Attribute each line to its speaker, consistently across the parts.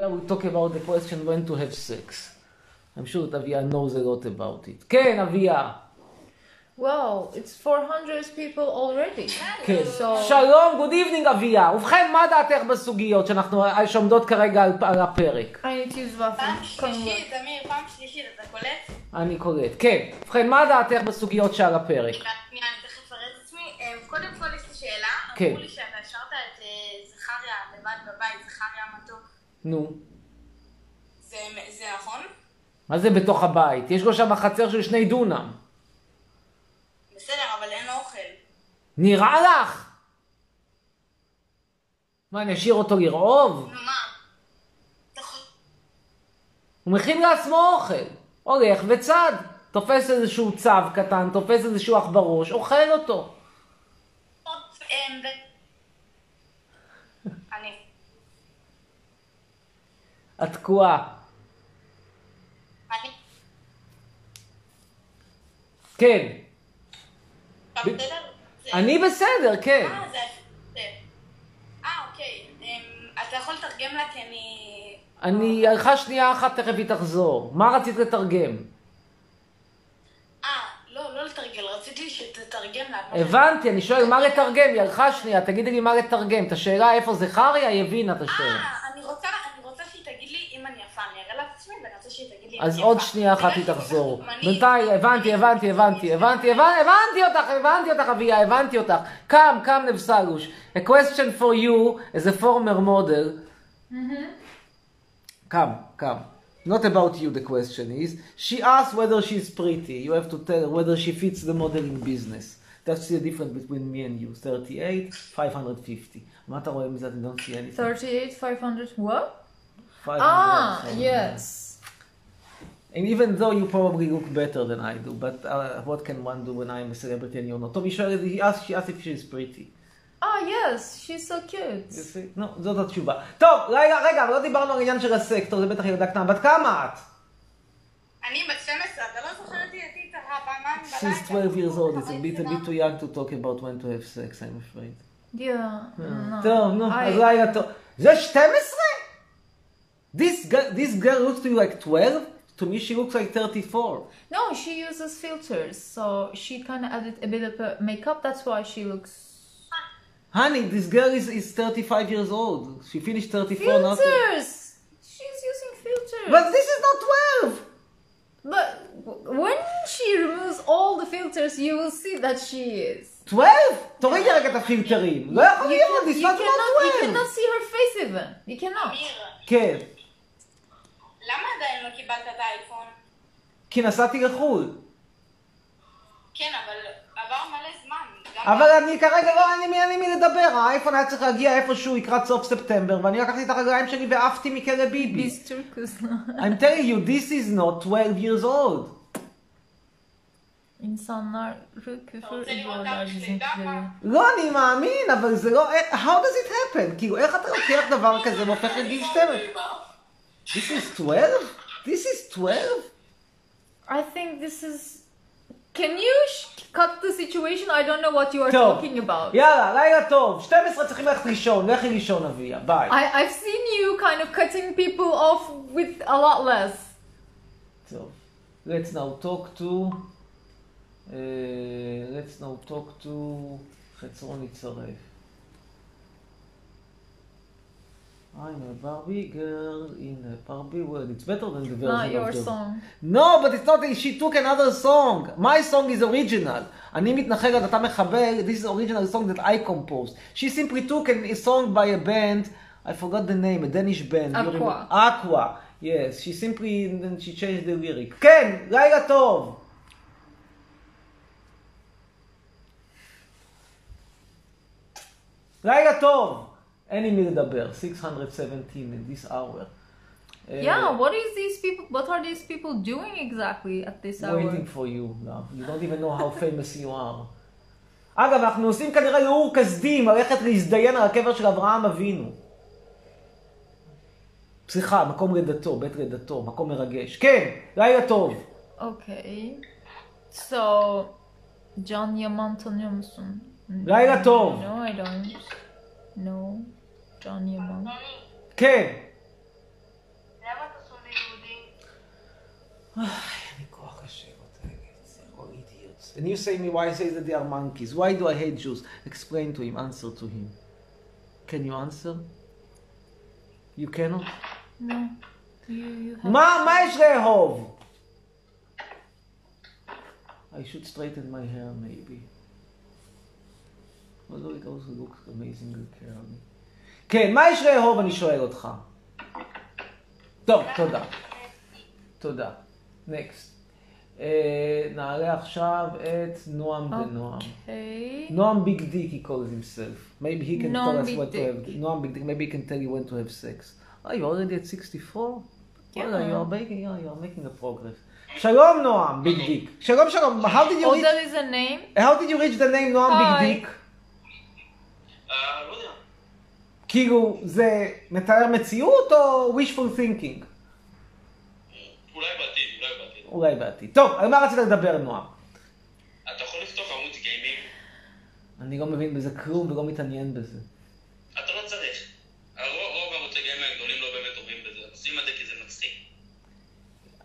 Speaker 1: we talk about the question when to have sex. I'm sure that Avia knows a lot about it. כן, אביה.
Speaker 2: Wow, it's 400 people already.
Speaker 1: כן.
Speaker 2: So-
Speaker 1: שלום, good evening, אביה. ובכן, מה דעתך בסוגיות שאנחנו, שעומדות כרגע על, על הפרק?
Speaker 2: I need to use
Speaker 3: פעם
Speaker 2: waffle. convert.
Speaker 3: שלישית, אמיר, פעם שלישית, אתה קולט?
Speaker 1: אני קולט. כן. ובכן, מה דעתך בסוגיות שעל הפרק?
Speaker 3: שנייה, אני תכף אפרט את עצמי. אמ, קודם כל יש לי שאלה.
Speaker 1: כן.
Speaker 3: אמרו לי שאתה השארת את אה, זכריה לבד בבית, זכריה המתוק.
Speaker 1: נו.
Speaker 3: זה- זה נכון?
Speaker 1: מה זה בתוך הבית? יש לו שם חצר של שני דונם.
Speaker 3: בסדר, אבל אין לו אוכל.
Speaker 1: נראה לך? מה, אני אשאיר אותו לרעוב?
Speaker 3: נו מה? אתה חו-
Speaker 1: הוא מכין לעצמו אוכל. הולך וצד. תופס איזשהו צו קטן, תופס איזשהו עכברוש, אוכל אותו.
Speaker 3: אמ, ו- אני.
Speaker 1: את תקועה.
Speaker 3: אני.
Speaker 1: כן.
Speaker 3: אתה בסדר? זה-
Speaker 1: אני בסדר, כן.
Speaker 3: אה, זה... זה- אה, אוקיי. אמ, אתה יכול לתרגם לה כי אני...
Speaker 1: אני הלכה שנייה אחת, תכף היא תחזור. מה רצית לתרגם?
Speaker 3: אה, לא, לא לתרגל, רציתי שתתרגם לה.
Speaker 1: הבנתי, אני שואל מה לתרגם, היא הלכה שנייה, תגידי לי מה לתרגם. את השאלה איפה זכריה, היא הבינה את השאלה.
Speaker 3: אה, אני רוצה, אני רוצה שהיא תגיד לי אם אני יפה, אני אראה לה את עצמי ואני רוצה שהיא תגיד לי אם אני יפה.
Speaker 1: אז עוד שנייה אחת היא תחזור. בינתיים, הבנתי, הבנתי, הבנתי, הבנתי, הבנתי, הבנתי אותך, הבנתי אותך, אביה, הבנתי אותך. קם, קם נבסלוש. A question for you as a former model. קם, קם. Not about you the question is. She asked whether she's pretty. You have to tell her whether she fits the modeling business. That's the difference between me and you. 38, 550. מה אתה רואה מזה? אני לא see anything.
Speaker 2: 38, 500. What?
Speaker 1: 500,
Speaker 2: Ah,
Speaker 1: 500.
Speaker 2: yes.
Speaker 1: And even though you probably look better than I do, but uh, what can one do when I'm a celebrity and you're not? טוב, היא שואלת, היא asked, she asked if she's pretty.
Speaker 2: Ah, yes, she's so cute.
Speaker 1: You see? No, זאת התשובה. טוב, רגע, רגע, אבל לא דיברנו על עניין של הסקטור, זה בטח ילדה קטנה. בת כמה את?
Speaker 3: אני בת 12, אתה לא זוכר אותי עתית פעמיים בלילה.
Speaker 1: She's 12 years old, it's a bit, a bit too young to talk about when to have sex, I'm afraid.
Speaker 2: Yeah. no.
Speaker 1: טוב, נו,
Speaker 2: I-
Speaker 1: אז לילה טוב. זה 12? This girl, this girl looks to you like 12? To me she looks like 34.
Speaker 2: No, she uses filters, so she kind of added a bit of uh, makeup. That's why she looks.
Speaker 1: Honey, this girl is, is 35 years old. She finished 34 now.
Speaker 2: Filters! She's using filters.
Speaker 1: But this is not 12!
Speaker 2: But w- when she removes all the filters, you will see that she is.
Speaker 1: 12? תורידי רגע את הפילטרים. לא יכול
Speaker 2: You,
Speaker 1: להיות,
Speaker 2: can-
Speaker 1: it's
Speaker 2: you
Speaker 1: not
Speaker 2: cannot, you
Speaker 1: 12.
Speaker 2: cannot see her face even. You cannot.
Speaker 3: אמיר,
Speaker 1: כן,
Speaker 3: למה עדיין לא קיבלת את האייפון?
Speaker 1: כי נסעתי לחו"ל.
Speaker 3: כן, אבל עבר מלא זמן. גם-
Speaker 1: אבל אני כרגע לא, אין לי מי- אין לי מי לדבר. האייפון היה צריך להגיע איפשהו לקראת סוף ספטמבר, ואני לקחתי את הרגליים שלי ועפתי מכלא ביבי.
Speaker 2: Biz Turkus.
Speaker 1: I'm telling you, this is not 12 years old.
Speaker 2: İnsanları
Speaker 3: אתה
Speaker 2: küfür
Speaker 3: רוצה לראות את
Speaker 2: ediyorlar
Speaker 3: אבא שלי
Speaker 2: bizimkileri.
Speaker 3: ככה?
Speaker 1: לא, אני מאמין, אבל זה לא... How does it happen? כאילו, איך אתה לוקח דבר כזה והופך לגיל 12? This is 12? This is 12?
Speaker 2: I think this is... Can you sh- cut the situation? I don't know what you are
Speaker 1: טוב.
Speaker 2: talking about.
Speaker 1: יאללה, לילה טוב. 12 צריכים ללכת לישון, לכי לישון אביה, ביי.
Speaker 2: I, I've seen you kind of cutting people off with a lot less.
Speaker 1: טוב. let's now talk to... Uh, let's now talk to... חצרון יצרף. I'm a Barbie girl in a Barbie world. It's better than the version
Speaker 2: Not
Speaker 1: of
Speaker 2: your
Speaker 1: the-
Speaker 2: song.
Speaker 1: No, but it's not, she took another song. My song is original. אני מתנחלת, אתה מחבל, this is original song that I composed. She simply took an- a song by a band, I forgot the name, a Danish band. You
Speaker 2: Aqua.
Speaker 1: remember- Aqua, yes. She simply, then she changed the lyric. כן, לילה טוב. לילה טוב. אין עם מי לדבר, 617 in this hour. Eh.
Speaker 2: Yeah, what is these people? What are these people doing exactly at this hour?
Speaker 1: waiting for you, love. You don't even know how famous you are. אגב, אנחנו עושים כנראה לאור כסדים, ללכת להזדיין על הקבר של אברהם אבינו. סליחה, מקום לידתו, בית לידתו, מקום מרגש. כן, לילה טוב.
Speaker 2: Okay. So, Can Yaman tanıyor musun?
Speaker 1: Layla Tov.
Speaker 2: No, I don't. No. Can Yaman.
Speaker 1: כן. אין לי כוח לשבת האלה, זה all idiots. And you say me why I say that they are monkeys. Why do I hate Jews? Explain to him, answer to him. Can you answer? You cannot?
Speaker 2: No. You, you have
Speaker 1: מה, מה יש לאהוב? I should straighten my hair maybe. Although it also looks amazing curly. כן, מה יש לאהוב אני שואל אותך. טוב, תודה. תודה. נקסט. נעלה עכשיו את נועם ונועם.
Speaker 2: Okay.
Speaker 1: Noam Big Dick, he calls himself. Maybe he can
Speaker 2: Noam
Speaker 1: tell us
Speaker 2: Big
Speaker 1: what
Speaker 2: Dick.
Speaker 1: to have. Noam Big Dick. Maybe he can tell you when to have sex. Oh, you're already at 64?
Speaker 2: Yeah.
Speaker 1: Well, you are making, yeah, you are making a progress. Shalom, Noam Big Dick. Shalom, shalom. How did you
Speaker 2: Oh,
Speaker 1: reach?
Speaker 2: that is a name?
Speaker 1: How did you reach the name Noam
Speaker 2: Hi.
Speaker 1: Big Dick?
Speaker 4: אה, לא יודע.
Speaker 1: כאילו, זה מתאר מציאות או wishful thinking?
Speaker 4: אולי בעתיד, אולי בעתיד.
Speaker 1: אולי בעתיד. טוב, על מה רצית לדבר, נועם?
Speaker 4: אתה יכול לפתוח ערוץ גיימינג,
Speaker 1: אני לא מבין בזה כלום ולא מתעניין בזה.
Speaker 4: אתה לא צריך. הרוב- רוב ערוצי גיימינג הגדולים לא באמת עוברים בזה, הם עושים את זה כי זה מצחיק.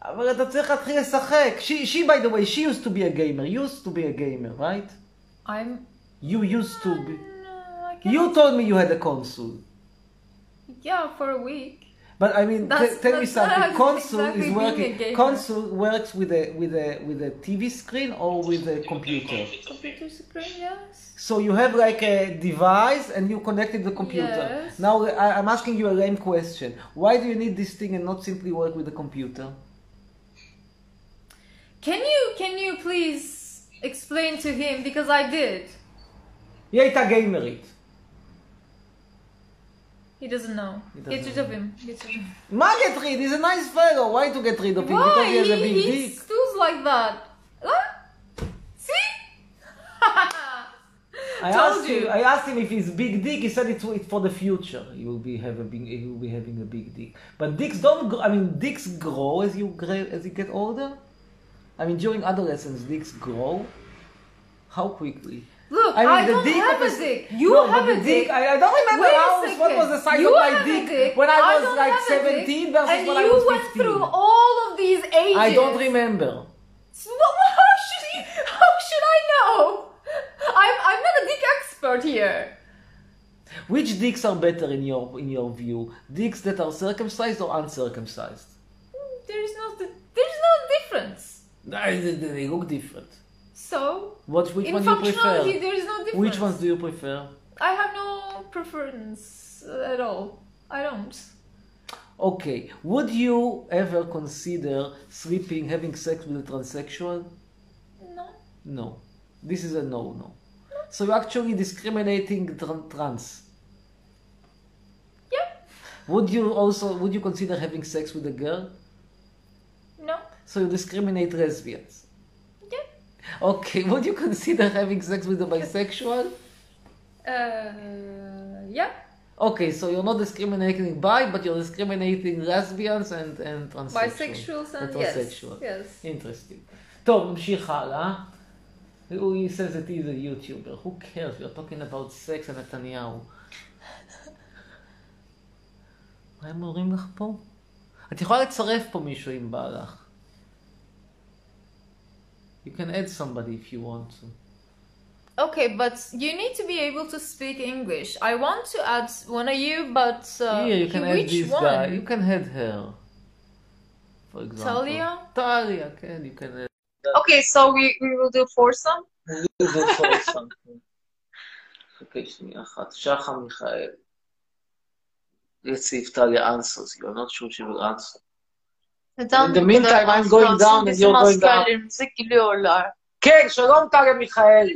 Speaker 1: אבל אתה צריך להתחיל לשחק. She, she, by the way, she used to be a gamer. Used to be a gamer, right?
Speaker 2: I'm.
Speaker 1: You used to be.
Speaker 2: No, I can't.
Speaker 1: You told me you had a console.
Speaker 2: Yeah, for a week.
Speaker 1: But I mean,
Speaker 2: That's-
Speaker 1: t- tell me
Speaker 2: that's not
Speaker 1: something. Console
Speaker 2: exactly
Speaker 1: is
Speaker 2: being a
Speaker 1: working.
Speaker 2: gamer.
Speaker 1: Console works with a with a with a TV screen or with a computer.
Speaker 2: Computer screen, yes.
Speaker 1: So you have like a device and you connected the computer.
Speaker 2: Yes.
Speaker 1: Now I, I'm asking you a lame question. Why do you need this thing and not simply work with the computer?
Speaker 2: Can you can you please explain to him because I did.
Speaker 1: היא הייתה גיימרית.
Speaker 2: He doesn't know.
Speaker 1: He
Speaker 2: Get
Speaker 1: doesn't
Speaker 2: rid of him. Get rid of him.
Speaker 1: מה get rid? He's a nice fellow. Why to get rid of him? Because
Speaker 2: Why
Speaker 1: he has a
Speaker 2: he,
Speaker 1: big
Speaker 2: he
Speaker 1: dick.
Speaker 2: stools like that? Huh? See?
Speaker 1: I
Speaker 2: Told
Speaker 1: asked
Speaker 2: you.
Speaker 1: him. I asked him if he's big dick. He said it's, it's for the future. He will be have a big. He will be having a big dick. But dicks don't. Grow, I mean, dicks grow as you gra- as you get older. I mean, during adolescence, dicks grow. How quickly?
Speaker 2: Look, I,
Speaker 1: I mean, the
Speaker 2: don't
Speaker 1: dick
Speaker 2: have
Speaker 1: of
Speaker 2: a
Speaker 1: a-
Speaker 2: dick. You
Speaker 1: No,
Speaker 2: have
Speaker 1: but
Speaker 2: a
Speaker 1: the
Speaker 2: dick.
Speaker 1: dick- I- I don't remember
Speaker 2: Wait a
Speaker 1: how- what
Speaker 2: second.
Speaker 1: was the size
Speaker 2: you
Speaker 1: of my
Speaker 2: have a
Speaker 1: dick
Speaker 2: dick,
Speaker 1: when I was
Speaker 2: don't
Speaker 1: like
Speaker 2: have a dick,
Speaker 1: 17 versus
Speaker 2: and
Speaker 1: when I
Speaker 2: you
Speaker 1: was
Speaker 2: went
Speaker 1: 15.
Speaker 2: through all of these ages.
Speaker 1: I don't remember.
Speaker 2: So wh- How should you? How should I know? I'm I'm not a dick expert here.
Speaker 1: Which dicks are better in your in your view? Dicks that are circumcised or uncircumcised?
Speaker 2: There is no di- there is no difference.
Speaker 1: They, they- they look different.
Speaker 2: So
Speaker 1: What which
Speaker 2: in
Speaker 1: one do you prefer?
Speaker 2: functionality there is no difference.
Speaker 1: Which ones do you prefer?
Speaker 2: I have no preference at all. I don't.
Speaker 1: Okay, would you ever consider sleeping, having sex with a transsexual?
Speaker 2: No.
Speaker 1: No. This is a no no. So you're actually discriminating tran- trans.
Speaker 2: Yeah.
Speaker 1: Would you also would you consider having sex with a girl?
Speaker 2: No.
Speaker 1: So you discriminate lesbians.
Speaker 2: Yeah.
Speaker 1: Okay, would you consider having sex with a bisexual?
Speaker 2: Uh. Yeah.
Speaker 1: Okay, so you're not discriminating bi, but you're discriminating lesbians and, and transsexuals.
Speaker 2: Bisexuals and yes.
Speaker 1: heterosexual.
Speaker 2: Yes.
Speaker 1: Interesting. טוב, נמשיך הלאה. He says that he's a YouTuber. Who cares? We are talking about sex and נתניהו. מה הם אומרים לך פה? את יכולה לצרף פה מישהו אם בא לך. You can add somebody if you want to.
Speaker 2: Okay, but you need to be able to speak English. I want to add one of you, but uh,
Speaker 1: Here, you can add
Speaker 2: which
Speaker 1: this
Speaker 2: one?
Speaker 1: guy. You can add her. For example.
Speaker 2: Talia?
Speaker 1: Talia, can you can add.
Speaker 2: Okay, so we, we will do foursome.
Speaker 1: זאת פורסם. חכה שנייה אחת. שחר מיכאל. Let's see if Talia answers you. I'm not sure she will answer. In the meantime, I'm going down and
Speaker 5: Bizim
Speaker 1: you're going down.
Speaker 5: askerlerimize gülüyorlar.
Speaker 1: כן, שלום טליה מיכאלי.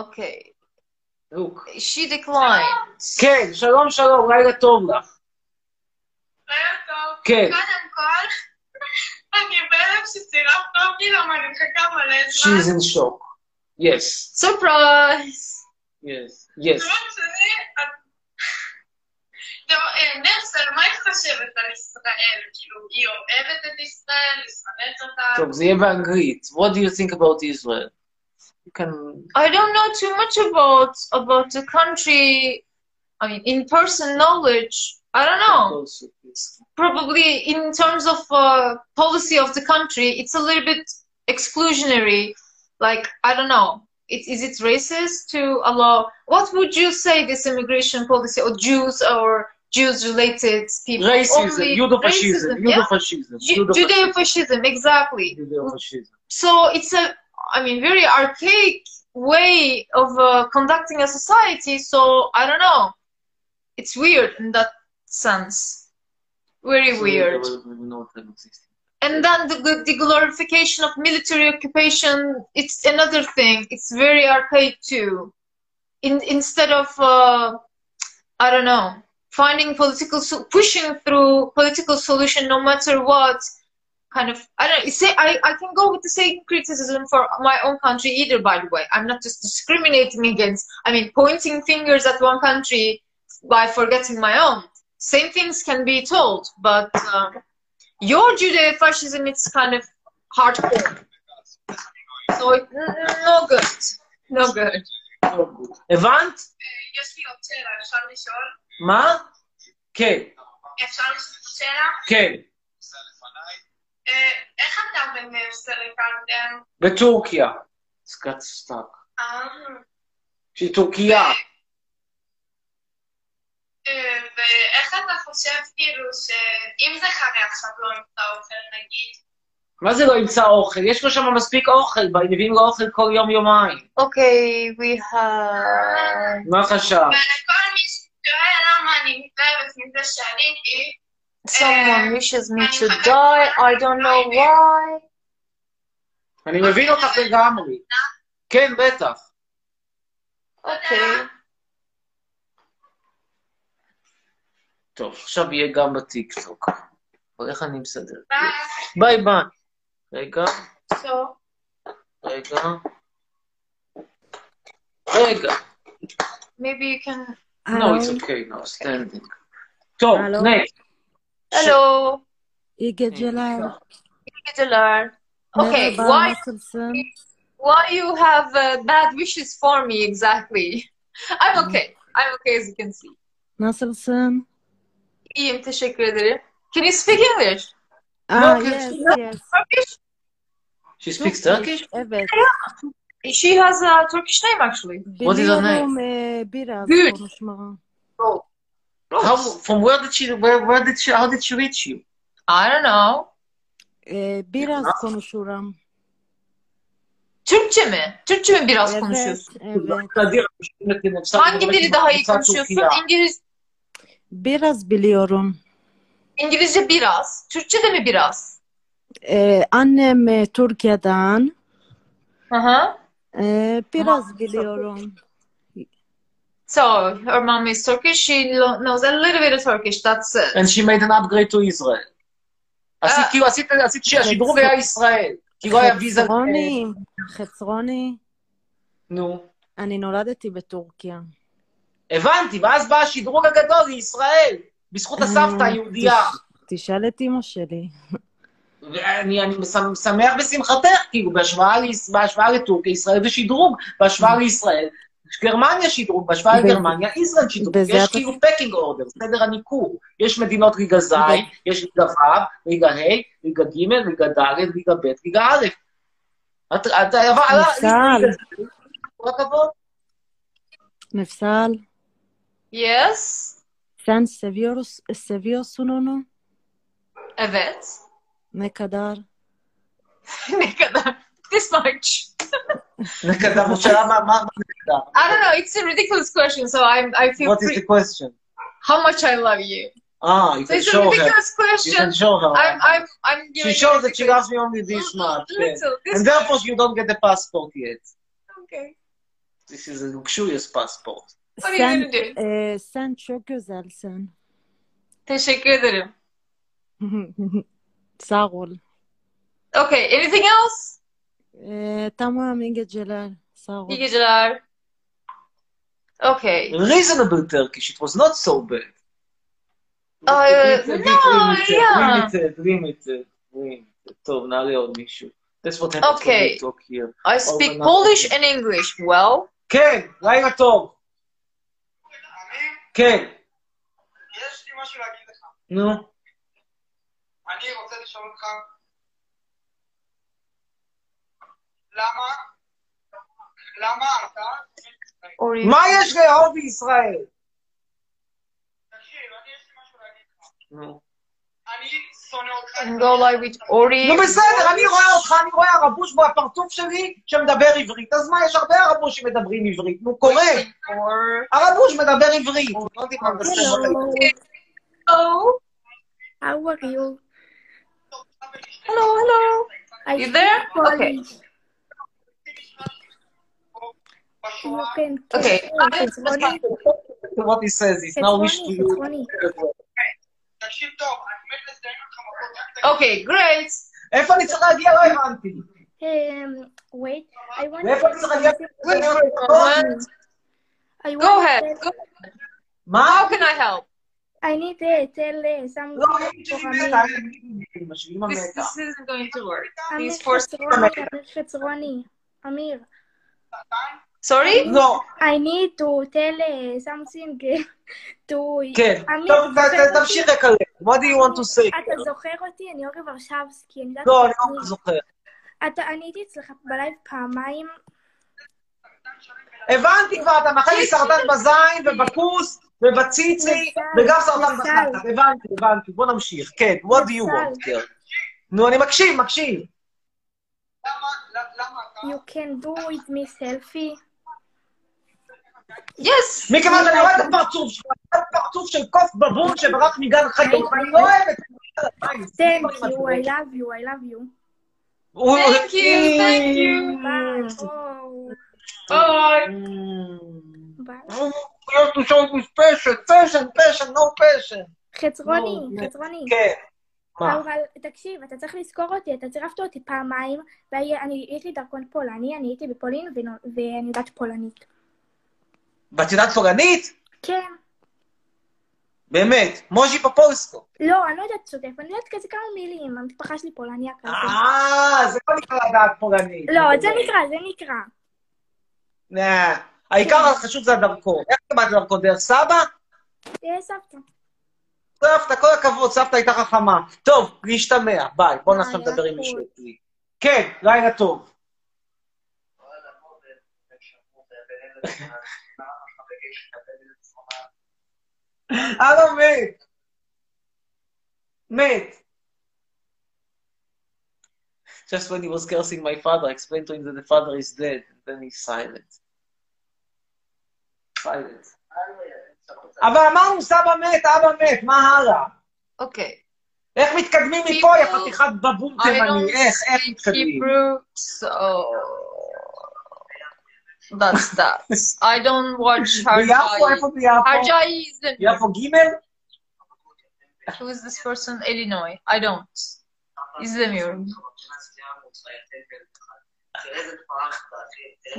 Speaker 5: Okay.
Speaker 1: לוק.
Speaker 5: She declined.
Speaker 1: כן, שלום שלום, לילה טוב לך.
Speaker 6: ערב טוב.
Speaker 1: כן.
Speaker 6: קודם כל, אני בהלם שסירבת אותי, למה אני מחכה מלא זמן.
Speaker 1: She's in shock. Yes,
Speaker 5: Surprise!
Speaker 1: yes, yes.
Speaker 6: דבר שני, את- טוב, אה,
Speaker 2: eh,
Speaker 6: נרסל, מה היא חושבת על ישראל? כאילו, היא אוהבת את ישראל? היא שונאת אותה?
Speaker 1: טוב, זה יהיה באנגלית. What do you think about Israel? You can...
Speaker 5: I don't know too much about about the country.
Speaker 2: I mean, in person knowledge, I don't know. Probably in terms of uh, policy of the country, it's a little bit exclusionary. Like, I don't know. It, is it racist to allow? What would you say this immigration policy or Jews or Jews related people?
Speaker 5: Racism,
Speaker 2: Only
Speaker 5: Judofascism,
Speaker 2: racism, yeah?
Speaker 5: Judofascism,
Speaker 2: Ju- Judeo-fascism, exactly.
Speaker 5: Judofascism.
Speaker 2: so it's a i mean very archaic way of uh, conducting a society so i don't know it's weird in that sense very weird and then the, the, the glorification of military occupation it's another thing it's very archaic too in, instead of uh, i don't know finding political so- pushing through political solution no matter what kind of i don't know say I, I can go with the same criticism for my own country either by the way i'm not just discriminating against i mean pointing fingers at one country by forgetting my own same things can be told but uh, your judeo-fascism it's kind of hardcore so it, n- n- no good no good
Speaker 5: הבנת?
Speaker 6: יש לי עוד שאלה, אפשר לשאול?
Speaker 5: מה? כן,
Speaker 6: אפשר לשאול שאלה?
Speaker 5: כן,
Speaker 6: אה, איך אתה במסטריקנדם?
Speaker 5: בטורקיה. סקאט סטאק.
Speaker 6: אה,
Speaker 5: שהיא טורקיה.
Speaker 6: ואיך אתה חושב, כאילו, שאם זה חרי עכשיו לא נמצא אוכל, נגיד,
Speaker 5: מה זה לא ימצא אוכל? יש לו שם מספיק אוכל, מביאים לו אוכל כל יום-יומיים.
Speaker 2: okay we have
Speaker 5: מה חשבת?
Speaker 6: וכל מי ששואל למה אני מתלהבת מזה שעליתי,
Speaker 2: someone wishes me to die i don't know why
Speaker 5: אני מבין אותך לגמרי. כן, בטח.
Speaker 2: okay
Speaker 5: טוב, עכשיו יהיה גם בטיקטוק. אבל איך אני מסדר?
Speaker 6: ואז
Speaker 5: ביי ביי. רגע,
Speaker 2: so
Speaker 5: רגע. רגע.
Speaker 2: Maybe you can.
Speaker 5: No, it's okay, no, standing. טוב,
Speaker 7: אה, הלו?
Speaker 5: next.
Speaker 2: Hello.
Speaker 7: İyi geceler.
Speaker 2: Geceler. Okay,
Speaker 7: Merhaba,
Speaker 2: why
Speaker 7: nasılsın?
Speaker 2: why you have uh, bad wishes for me exactly? I'm okay. I'm okay as you can see.
Speaker 7: Nasılsın?
Speaker 2: İyiyim, teşekkür ederim. Can you speak English?
Speaker 7: Ah,
Speaker 5: Yok,
Speaker 7: yes, yes.
Speaker 2: Turkish?
Speaker 7: לא,
Speaker 5: She speaks Turkish?
Speaker 7: Evet.
Speaker 2: She has a Turkish name actually.
Speaker 5: What is her name?
Speaker 7: Biliyorum eh, biraz
Speaker 2: Good.
Speaker 7: konuşma.
Speaker 2: Oh,
Speaker 5: How, from where did she, where, where did she, how did she reach you?
Speaker 2: I don't know.
Speaker 7: Eh, biraz konuşuram.
Speaker 2: Türkçe mi? Türkçe mi biraz
Speaker 7: Evet,
Speaker 2: konuşuyorsun?
Speaker 5: לא,
Speaker 7: evet.
Speaker 5: Kadir, şimdi yine sen-
Speaker 2: Hangi dili daha iyi
Speaker 5: sen
Speaker 2: konuşuyorsun?
Speaker 5: Türkiye.
Speaker 2: İngiliz
Speaker 7: Biraz biliyorum.
Speaker 2: İngilizce biraz. Türkçe de mi biraz?
Speaker 7: Eh, annem eh, Türkiye'den.
Speaker 2: Hı hı.
Speaker 7: Eh, biraz biliyorum.
Speaker 2: So, her mom is Turkish. She lo- knows a little bit of Turkish. That's it.
Speaker 5: And she made an upgrade to Israel. עשית,
Speaker 2: אה.
Speaker 5: כאילו, עשית, עשית שהשידרוג היה ישראל. כאילו היה ויזה...
Speaker 7: חצרוני, חצרוני,
Speaker 5: נו.
Speaker 7: אני נולדתי בטורקיה.
Speaker 5: הבנתי, ואז בא השדרוג הגדול לישראל,
Speaker 7: אה,
Speaker 5: בזכות הסבתא היהודייה.
Speaker 7: תשאל את אמא שלי.
Speaker 5: ואני אני מש- שמח בשמחתך, כאילו, בהשוואה, ליס- בהשוואה לטורקיה, ישראל זה שדרוג, בהשוואה לישראל, גרמניה שדרוג, בהשוואה
Speaker 7: בזה-
Speaker 5: לגרמניה, ישראל שדרוג,
Speaker 7: בזה
Speaker 5: יש
Speaker 7: אתה-
Speaker 5: כאילו פקינג אורדר, סדר הניקור, יש מדינות ליגה ז', יש ליגה ו', ליגה ה', ליגה ג', ליגה ד', ליגה ב', ליגה א'. את- את- אבל-
Speaker 7: נפסל.
Speaker 5: כל הכבוד.
Speaker 7: נפסל,
Speaker 2: Yes.
Speaker 7: sen seviyoruz, e, seviyorsun onu.
Speaker 2: Evet.
Speaker 7: Ne kadar?
Speaker 2: ne kadar? This much.
Speaker 5: זה כזה, אבל שאלה מה- מה-
Speaker 2: I don't know. It's a ridiculous question, so I'm, I feel
Speaker 5: What is
Speaker 2: free.
Speaker 5: the question?
Speaker 2: How much I love you.
Speaker 5: Ah, you
Speaker 2: So
Speaker 5: can
Speaker 2: it's a
Speaker 5: show her.
Speaker 2: ridiculous
Speaker 5: You can
Speaker 2: question.
Speaker 5: show her.
Speaker 2: I'm, I'm, I'm
Speaker 5: She
Speaker 2: giving
Speaker 5: shows
Speaker 2: you
Speaker 5: that she loves me only this much. yeah.
Speaker 2: little. This
Speaker 5: And therefore you don't get the passport yet.
Speaker 2: okay.
Speaker 5: This is a luxurious passport.
Speaker 2: What are you
Speaker 7: Sen,
Speaker 2: gonna do?
Speaker 7: eh, sen çok güzelsin.
Speaker 2: Teşekkür ederim.
Speaker 7: Sağ ol.
Speaker 2: Okay. Anything else?
Speaker 7: Eh, tamam, iyi geceler. Sağ ol.
Speaker 2: İyi geceler. Okay.
Speaker 5: Reasonable Turkish, it was not so bad.
Speaker 2: Uh,
Speaker 5: A bit- a bit
Speaker 2: no,
Speaker 5: limited,
Speaker 2: yeah.
Speaker 5: limited, limited, limited. טוב, נעלה עוד מישהו. That's what happens when
Speaker 2: Okay.
Speaker 5: we talk here.
Speaker 2: I speak
Speaker 5: Overnight.
Speaker 2: Polish and English well.
Speaker 5: כן, לילה טוב.
Speaker 6: אה,
Speaker 8: כן,
Speaker 6: יש לי משהו להגיד לך.
Speaker 1: נו.
Speaker 6: אני רוצה לשאול אותך, למה, למה אתה,
Speaker 2: Or if-
Speaker 8: מה יש לאהוב בישראל?
Speaker 6: תקשיב, אני יש לי משהו להגיד לך.
Speaker 8: נו,
Speaker 6: אני שונא אותך.
Speaker 2: and go live with Ori.
Speaker 8: נו, בסדר, אני רואה אותך, אני רואה הרבוש בפרצוף שלי שמדבר עברית. אז מה, יש הרבה הרבושים מדברים עברית. נו, קורה.
Speaker 2: Or
Speaker 8: הרבוש מדבר עברית. לא יודעים מה זה.
Speaker 7: Hello.
Speaker 2: hello,
Speaker 9: How are you?
Speaker 2: hello, hello.
Speaker 9: I
Speaker 2: You there?
Speaker 9: speak Polish. You
Speaker 6: בשואה,
Speaker 9: can
Speaker 2: Okay.
Speaker 9: It's funny.
Speaker 8: What he says, he's
Speaker 9: It's
Speaker 8: now
Speaker 9: funny.
Speaker 8: wish to
Speaker 9: It's
Speaker 8: you.
Speaker 9: funny.
Speaker 6: תקשיב טוב, אני מת לזדיין אותך מכות. רק תגיד,
Speaker 2: Okay, great.
Speaker 8: איפה אני צריך להגיע? לא הבנתי.
Speaker 9: Um, wait. I want
Speaker 8: מאיפה אני צריך להגיע?
Speaker 9: I want
Speaker 2: Go ahead.
Speaker 9: to-
Speaker 2: Go.
Speaker 8: מה?
Speaker 2: How can I help?
Speaker 9: I need to tell uh, some
Speaker 8: לא,
Speaker 9: girl
Speaker 8: אין
Speaker 9: for
Speaker 8: שלי
Speaker 9: a
Speaker 8: מתה.
Speaker 9: man.
Speaker 8: אמא שלי
Speaker 1: Oh
Speaker 8: אמא
Speaker 2: This,
Speaker 8: מתה.
Speaker 2: this isn't going to work.
Speaker 9: Amir
Speaker 2: These four.
Speaker 9: Chetzroni, Amir Chetzroni. Amir.
Speaker 2: Sorry.
Speaker 8: לא,
Speaker 9: I need to tell uh, something uh, to...
Speaker 8: כן.
Speaker 9: אמיר,
Speaker 8: טוב, ת-
Speaker 9: זוכר
Speaker 8: ת-
Speaker 9: אותי?
Speaker 8: תמשיך לקלל. What do you want to say?
Speaker 9: אתה זוכר אותי? אני אורי ורשבסקי. אני יודעת...
Speaker 8: לא, אני
Speaker 9: שאני-
Speaker 8: לא זוכר.
Speaker 9: אתה, אני הייתי אצלך בלייב פעמיים.
Speaker 8: הבנתי כבר, אתה מאחל לי סרטן בזין ובכוס ובציצי
Speaker 9: מזל,
Speaker 8: וגם סרטן
Speaker 9: מזל.
Speaker 8: בחטא. הבנתי, הבנתי. בוא נמשיך. כן, what do you
Speaker 9: מזל.
Speaker 8: want? כן. נו, אני מקשיב, מקשיב.
Speaker 6: למה, למה אתה,
Speaker 9: You can do it me selfie.
Speaker 2: Yes.
Speaker 8: מכיוון שאני רואה את הפרצוף שלך, אני רואה את הפרצוף של קוף בבור שברח מגן חיות, ואני לא אוהב את זה.
Speaker 9: Thank you, I love you, I love you.
Speaker 8: הוא-
Speaker 2: Thank you. Thank you.
Speaker 8: Mm.
Speaker 9: Bye. Oh,
Speaker 2: Bye.
Speaker 9: bye.
Speaker 8: You have to show this passion, passion, passion, no passion.
Speaker 9: חצרוני, חצרוני.
Speaker 8: כן. מה?
Speaker 9: אבל תקשיב, אתה צריך לזכור אותי, אתה צירפת אותי פעמיים, ויש לי דרכון פולני, אני הייתי בפולין ונו- ואני יודעת פולנית.
Speaker 8: ואת יודעת פולנית?
Speaker 9: כן.
Speaker 8: באמת. מוז'י פופולסקו.
Speaker 9: לא, אני לא יודעת שוטף, אני יודעת כזה כמה מילים, המשפחה שלי פולניה כזה.
Speaker 8: אה, זה לא נקרא לדעת פולנית.
Speaker 9: לא, את זה נקרא, זה נקרא.
Speaker 8: נה, אה, העיקר החשוב זה הדרכון. איך קיבלת דרכון? דרך סבא?
Speaker 9: אה, סבתא.
Speaker 8: סבתא, כל הכבוד, סבתא הייתה חכמה. טוב, להשתמע, ביי. בוא נעשה
Speaker 9: לילה
Speaker 8: לדבר עם
Speaker 9: טוב.
Speaker 8: מישהו. כן, לילה טוב. הלו, מת. מת. Just when he was cursing my father, I explained to him that the father is dead. Then he's silent. Silent. אבל אמרנו, סבא מת, אבא מת, מה הלאה?
Speaker 2: Okay.
Speaker 8: איך מתקדמים מפה, יא חתיכת בבום
Speaker 2: I don't
Speaker 8: תימני? איך, איך
Speaker 2: speak
Speaker 8: מתקדמים?
Speaker 2: Hebrew, so that's that. I don't watch
Speaker 8: ביפו, איפה
Speaker 2: Harjai.
Speaker 8: ביפו?
Speaker 2: Harjai is the
Speaker 8: יפו ג'?
Speaker 2: Who is this person? Illinois. I don't. Is the mirror.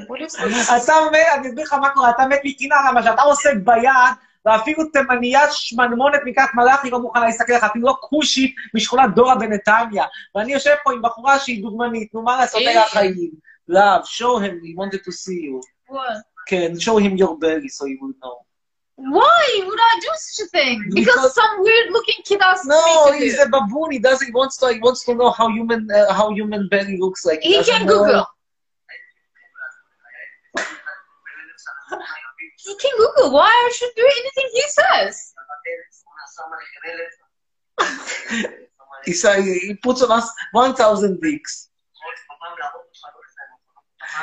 Speaker 2: What is this?
Speaker 8: אתה מת, אני אסביר לך מה קורה, אתה מת מקינה, למה שאתה עושה ביד, ואפילו תימניה שמנמונת מקריית מלאכי לא מוכנה להסתכל לך, אפילו לא כושית משכונת דורה בנתניה. ואני יושב פה עם בחורה שהיא דוגמנית, נו מה לעשות, אלה החיים. Love, show him, he wanted to see you.
Speaker 2: What?
Speaker 8: כן, show him your belly so he will know.
Speaker 2: Why would I do such a thing? Because,
Speaker 8: Because-
Speaker 2: some weird looking kid asked
Speaker 8: No,
Speaker 2: me to
Speaker 8: he's
Speaker 2: do.
Speaker 8: a baboon. He doesn't. He wants to. He wants to know how human uh, how human belly looks like.
Speaker 2: He
Speaker 8: doesn't
Speaker 2: can
Speaker 8: know.
Speaker 2: Google. he can Google. Why I should do anything he says?
Speaker 8: He say he puts on us one thousand dicks,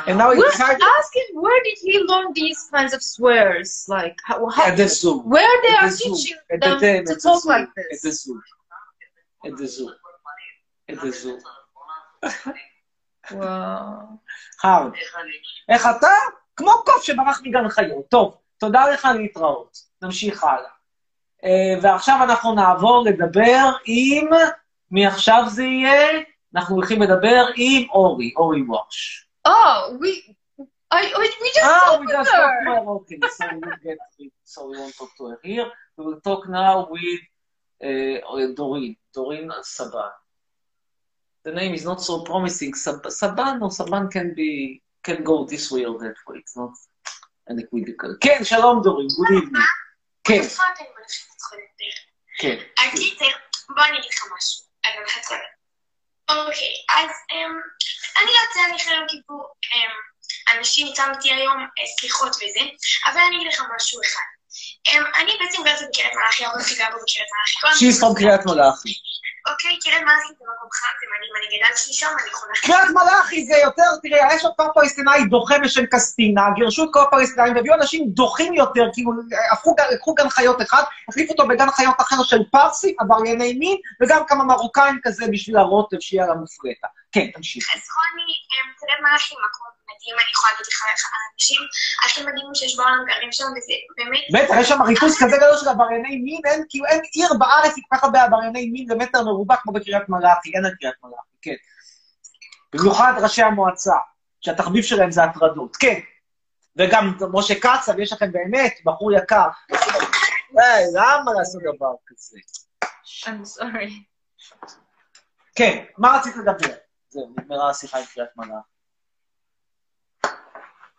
Speaker 8: and now he
Speaker 2: Well,
Speaker 8: tried
Speaker 2: ask him where did he learn these kinds of swears? Like how, how
Speaker 8: at the zoo.
Speaker 2: where they
Speaker 8: At
Speaker 2: are
Speaker 8: the zoo.
Speaker 2: teaching
Speaker 8: At the
Speaker 2: them
Speaker 8: dam,
Speaker 2: to
Speaker 8: at the
Speaker 2: talk
Speaker 8: zoo.
Speaker 2: like
Speaker 8: At the
Speaker 2: this.
Speaker 8: zoo. At the zoo. At the zoo.
Speaker 2: Wow.
Speaker 8: How? איך אתה? כמו קוף שברח מגן חיות. טוב, תודה לך להתראות. נמשיך הלאה. אה, ועכשיו אנחנו נעבור לדבר עם... מי עכשיו זה יהיה? אנחנו הולכים לדבר עם אורי, אורי וואש.
Speaker 2: Oh, we. I, we, we just
Speaker 8: Ah,
Speaker 2: spoke
Speaker 8: we
Speaker 2: with
Speaker 8: just
Speaker 2: her.
Speaker 8: talked to her. Okay, so we will get it. So we won't talk to her here. We will talk now with uh, Doreen, Doreen Saban. The name is not so promising. Sab- Saban or Saban can be can go this way or that way. It's not an equivocal. כן, שלום דורין, good evening. כן,
Speaker 6: אותך אני מלכת אותך יותר.
Speaker 8: כן.
Speaker 6: הקיצר, אוקיי, בוא אני אגיד לך משהו. אני הולכת לך. אוקיי, אז אמ, אני לא יוצאה אחרי יום כיפור, אמ, אנשים צמתי היום אה, סליחות וזה, אבל אני אגיד לך משהו אחד. אמ, אני בעצם גרתי בקריית מלאכי, ההורים שלי גרו בקריית מלאכי.
Speaker 8: שהיא סתם קריית מלאכי.
Speaker 6: אוקיי, קריית מלאכי זה מקום חם, זה מדהים, אני גדלתי שם, אני חונכת.
Speaker 8: קריית מלאכי זה יותר, תראה, יש עוד כפר פלסטיני דוחה בשם קסטינה, גירשו את כל הפלסטינאים והביאו אנשים דוחים יותר, כאילו, הפכו, גן- לקחו גן חיות אחד, החליפו אותו בגן חיות אחר של פרסים, עברייני מין, וגם כמה מרוקאים כזה בשביל הרוטב שיהיה על המופרטה. כן, תמשיך.
Speaker 6: אז רוני, אמ, קריית מלאכי מקום מדהים, אני יכולה להגיד לך איך האנשים הכי מדהימים שיש בעולם גרים שם, וזה באמת...
Speaker 8: בטח, יש שם ריכוז כזה גדול של עברייני מין, אין, כאילו, אין עיר בארץ עם כל כך הרבה עברייני מין למטר מרובע כמו בקריית מלאכי, אין על קריית מלאכי, כן. במיוחד ראשי המועצה, שהתחביב שלהם זה הטרדות, כן. וגם משה קצב, יש לכם באמת בחור יקר. היי, למה לעשות דבר כזה?
Speaker 2: I'm sorry.
Speaker 8: כן, מה רצית לדבר? זהו, נגמרה השיחה עם קריית מלאכי.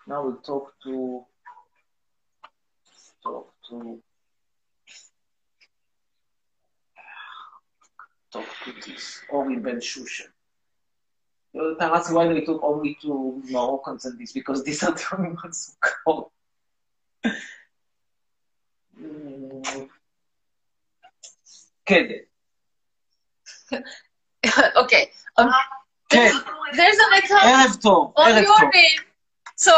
Speaker 8: Now we'll talk to... talk to... talk to this, אורי בן שושן. You know, that's why they took only to Moroccans and this, because these are the only ones who come. Mm. כן,
Speaker 2: okay. Um,
Speaker 8: כן,
Speaker 2: there's an account
Speaker 8: ערב טוב,
Speaker 2: on
Speaker 8: ערב
Speaker 2: your
Speaker 8: טוב.
Speaker 2: name. So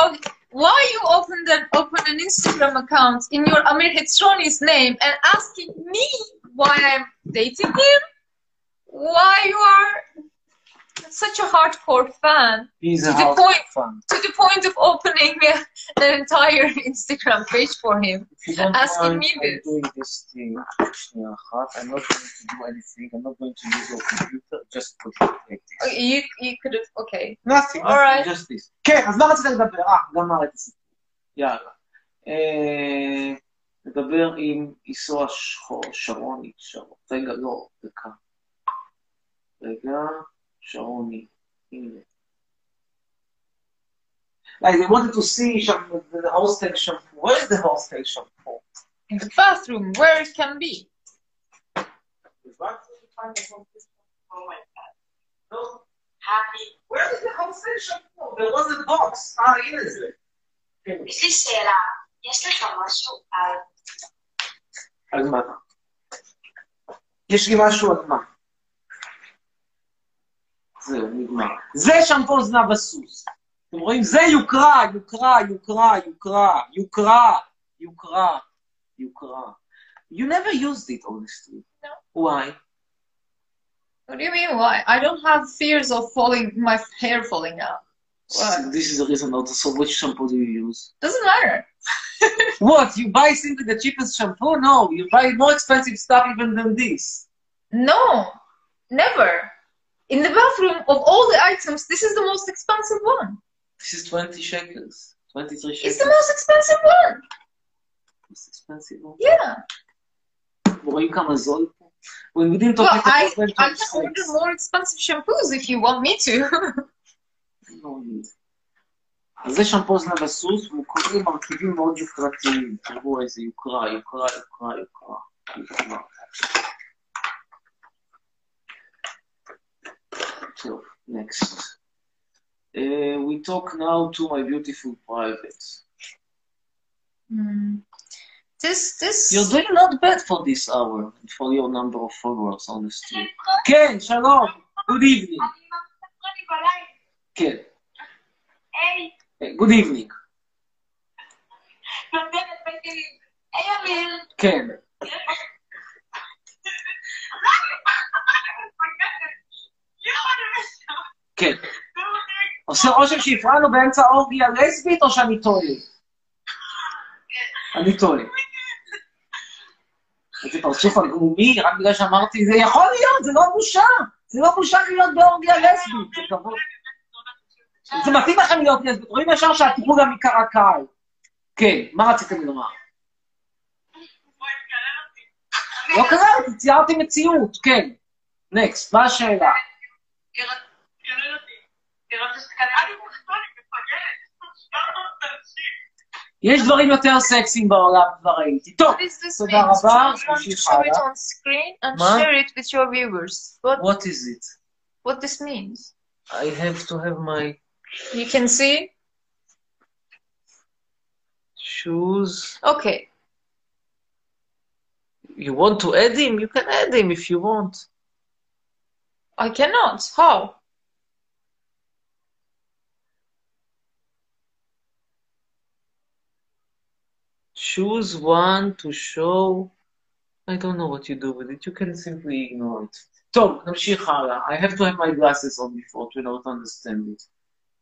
Speaker 2: why you opened an open an Instagram account in your Amir Hetroni's name and asking me why I'm dating him? Why you are such a hardcore fan
Speaker 8: He's a
Speaker 2: To the
Speaker 8: house
Speaker 2: point.
Speaker 8: fan.
Speaker 2: to the point of opening an entire Instagram page for him?
Speaker 8: You don't
Speaker 2: asking
Speaker 8: mind,
Speaker 2: me
Speaker 8: I'm
Speaker 2: this.
Speaker 8: doing this thing. שנייה אחת. I'm not going to do anything. I'm not going to use your computer. Just put it like this.
Speaker 2: Okay, Oh, You you could have okay.
Speaker 8: Nothing.
Speaker 2: All right.
Speaker 8: Just this. כן, אז מה רצית לדבר? אה, גמר את הסיפור. יאללה. אה, נדבר עם איסוע שחור, שרוני, שרון. רגע, לא, דקה. רגע, שרוני. הנה. Like they wanted to see some, the hostel shampoo. Where is the hostel shampoo?
Speaker 2: In the bathroom where it can be.
Speaker 8: Is that the kind of hostel shampoo? Oh my God. No.
Speaker 6: היי,
Speaker 8: Where is the hostel shampoo? There was a box. Ah, here is it. כן.
Speaker 6: יש לי שאלה, יש לך משהו על...
Speaker 8: על מה? יש לי משהו על מה. זהו, נגמר. זה שמפו זנב הסוס. אתם רואים? זה יוקרה, יוקרה, יוקרה, יוקרה, יוקרה, יוקרה, יוקרה. You never used it, honestly. Why?
Speaker 2: What do you mean? Why? I don't have fears of falling, my hair falling out. Why?
Speaker 8: This is the reason also. So which shampoo do you use?
Speaker 2: Doesn't matter.
Speaker 8: What? You buy simply the cheapest shampoo? No, you buy more expensive stuff even than this.
Speaker 2: No, never. In the bathroom, of all the items, this is the most expensive one.
Speaker 8: This is 20 shekels. 23 shekels.
Speaker 2: It's the most expensive one.
Speaker 8: most expensive one.
Speaker 2: Yeah.
Speaker 8: רואים כמה זול פה? When we didn't talk
Speaker 2: Well,
Speaker 8: about
Speaker 2: I
Speaker 8: husband
Speaker 2: I
Speaker 8: to
Speaker 2: can
Speaker 8: sex.
Speaker 2: order more expensive shampoos if you want me to.
Speaker 8: לא need. אז זה שמפו זנב הסוס, והוא קוראים מרכיבים מאוד יוקרתיים. תראו איזה יוקרה, יוקרה, יוקרה, יוקרה. יוקרה. טוב, next. Uh, we talk now to my beautiful private.
Speaker 2: Hmm. This this.
Speaker 8: You're doing not bad for this hour and for your number of followers, honestly. כן, שלום, good evening.
Speaker 6: אני מפריע בלילה,
Speaker 8: כן,
Speaker 6: היי,
Speaker 8: good evening.
Speaker 6: נותנת בגלים. היי אמיר,
Speaker 8: כן. כן. עושה רושם שהפרענו באמצע אורגיה לסבית, או שאני טועה? אני טועה. איזה פרצוף עגומי, רק בגלל שאמרתי, זה יכול להיות, זה לא בושה. זה לא בושה להיות באורגיה לסבית, זה כבוד. זה מתאים לכם להיות לסבית, רואים ישר שהטיפול גם עיקר הקהל. כן, מה רציתם לומר? לא קראתי, ציירתי מציאות, כן. נקסט, מה השאלה?
Speaker 5: יש דברים יותר סקסיים בעולם, כבר ראיתי. טוב,
Speaker 2: What is this
Speaker 5: תודה
Speaker 2: mean?
Speaker 5: רבה,
Speaker 2: Choose one to
Speaker 5: נמשיך
Speaker 2: show it
Speaker 5: הלאה.
Speaker 2: on screen and
Speaker 5: מה?
Speaker 2: share it with your viewers. What
Speaker 5: what is it?
Speaker 2: what this means?
Speaker 5: I have to have my
Speaker 2: You can see.
Speaker 5: shoes.
Speaker 2: Okay.
Speaker 5: You want to add him? You can add him if you want.
Speaker 2: I cannot. How?
Speaker 5: Choose one to show. I don't know what you do with it. You can simply ignore it. טוב, נמשיך הלאה. I have to have my glasses on before to not understand it.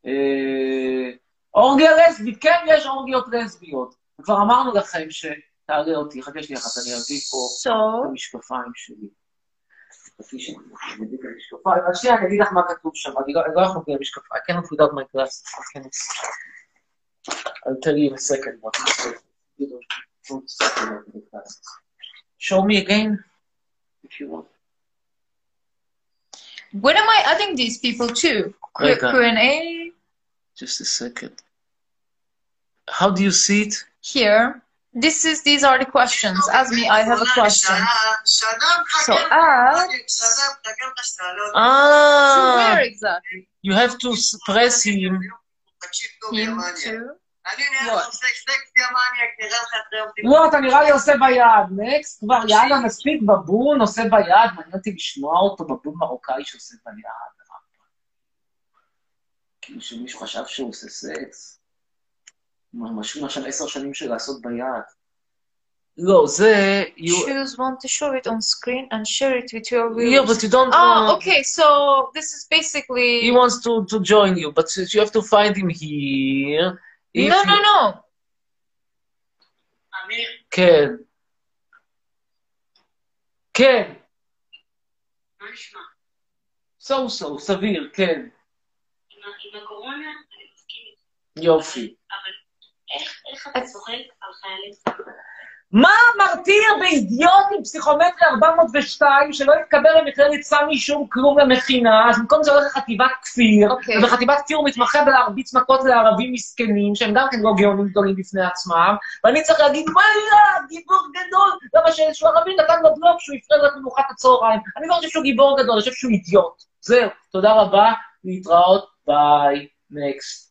Speaker 5: אה, אורגיה לסבית, כן, יש אורגיות לסביות. כבר אמרנו לכם שתעלה אותי, חכה שנייה אחת, אני אביא פה את
Speaker 2: So
Speaker 5: המשקפיים שלי. חכי שנייה, אני אביא את המשקפיים. אז שנייה, אני אגיד לך מה כתוב שם, אני לא- אני לא יכול בלי המשקפיים. I cannot without my glasses, I cannot. I'll tell you in a second what it says. You don't- don't stop without the glasses. Show me again, if you want.
Speaker 2: when am I adding these people to Q-
Speaker 5: רגע.
Speaker 2: Q&A
Speaker 5: Just a second. How do you see it?
Speaker 2: here? This is these are the questions. Ask me. I have a question. So add. So
Speaker 5: Ah,
Speaker 2: where exactly?
Speaker 5: you have to s- press him. כן,
Speaker 2: Him to.
Speaker 5: לא, אתה נראה לי עושה ביד. נקסט כבר, יאללה, מספיק בבון, עושה ביד. מעניין אותי לשמוע אותו, בבון מרוקאי שעושה ביד. כאילו שמישהו חשב שהוא עושה סקס. משהו עכשיו עשר שנים של לעשות ביד. לא, זה... you-
Speaker 2: Choose one to show it on screen and share it with your
Speaker 5: Yeah,
Speaker 2: viewers.
Speaker 5: but you don't...
Speaker 2: Ah,
Speaker 5: uh,
Speaker 2: okay. So this is basically.
Speaker 5: He wants to, to join you, but you have to find him here. If
Speaker 2: no,
Speaker 5: you-
Speaker 2: no, no.
Speaker 5: כן. כן. סו סו, סביר, כן.
Speaker 6: עם הקורונה, אני מסכים איתך,
Speaker 5: יופי.
Speaker 6: אבל איך- איך אתה צוחק על חיילים?
Speaker 5: מה מרתיר באידיוטים פסיכומטרי 402 שלא התקבל למכללת סמי שום כלום למכינה, אז במקום זה הולך לחטיבת כפיר,
Speaker 2: אוקיי.
Speaker 5: ובחטיבת כפיר הוא מתמחה בלהרביץ מכות לערבים מסכנים, שהם גם כן לא גאונים גדולים בפני עצמם, ואני צריך להגיד, מה יא, גיבור גדול, למה שאיזשהו ערבי נתן לו בלוק שהוא הפריע לו במנוחת הצהריים. אני לא חושב שהוא גיבור גדול, אני חושב שהוא אידיוט. זהו, תודה רבה, להתראות, ביי, נקסט.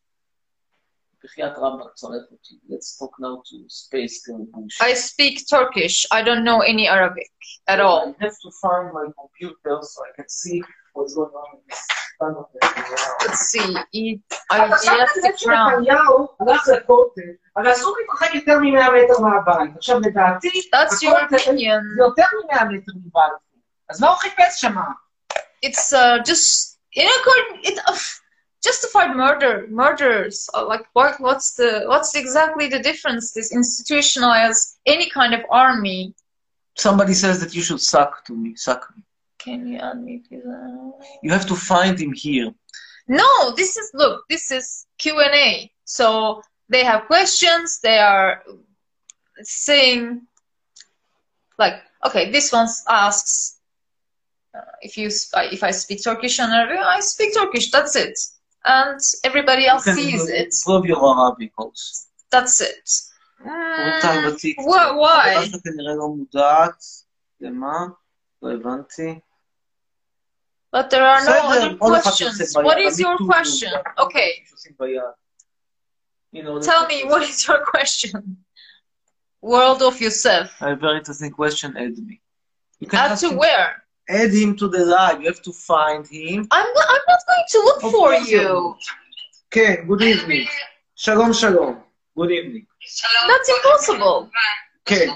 Speaker 5: בחייאת רמב"ם, צרף אותי. Let's talk now to space, girl bullshit.
Speaker 2: I speak Turkish. I don't know any Arabic at all.
Speaker 5: I have to find my computer so I can see what's going on in this time of the
Speaker 2: Let's see. It, I just round.
Speaker 5: שנתניהו הלך לכותל, אבל אסור להתרחק יותר מ-100 מטר מהבית. עכשיו, לדעתי,
Speaker 2: That's your opinion.
Speaker 5: זה יותר מ-100 מטר מבית. אז מה הוא חיפש שמה?
Speaker 2: It's uh, just in accordance. It uh, justified murder. Murders. Uh, Like what? What's the? What's exactly the difference? This institutionalized any kind of army.
Speaker 5: Somebody says that you should suck to me, suck me.
Speaker 2: Can you add me to that?
Speaker 5: You have to find him here.
Speaker 2: No, this is look, this is Q&A. So they have questions, they are saying like okay, this one asks uh, if you sp- if I speak Turkish and Arabic, I speak Turkish, that's it. And everybody else
Speaker 5: You can
Speaker 2: sees it.
Speaker 5: improve your Arabic also.
Speaker 2: That's it.
Speaker 5: רבותיי
Speaker 2: Mm,
Speaker 5: בטיקטוק.
Speaker 2: why-
Speaker 5: חברה
Speaker 2: why?
Speaker 5: שלה כנראה לא מודעת. למה? לא הבנתי.
Speaker 2: But there are no
Speaker 5: בסדר,
Speaker 2: other
Speaker 5: עוד אחד שעושה
Speaker 2: questions.
Speaker 5: ביד.
Speaker 2: What is your
Speaker 5: המיטוט,
Speaker 2: question?
Speaker 5: עוד אחד
Speaker 2: Okay,
Speaker 5: שעושים ביד. You know,
Speaker 2: tell
Speaker 5: that's-
Speaker 2: me what is your question? World of Yusuf.
Speaker 5: A very interesting question, add me. You can
Speaker 2: Add
Speaker 5: ask
Speaker 2: to
Speaker 5: him-
Speaker 2: where?
Speaker 5: add him to the live, you have to find him.
Speaker 2: I'm, go- I'm not going to look
Speaker 5: Of
Speaker 2: for
Speaker 5: course you
Speaker 2: you.
Speaker 5: will. כן, good evening. שלום שלום. good evening.
Speaker 6: שלום.
Speaker 2: That's impossible.
Speaker 5: כן,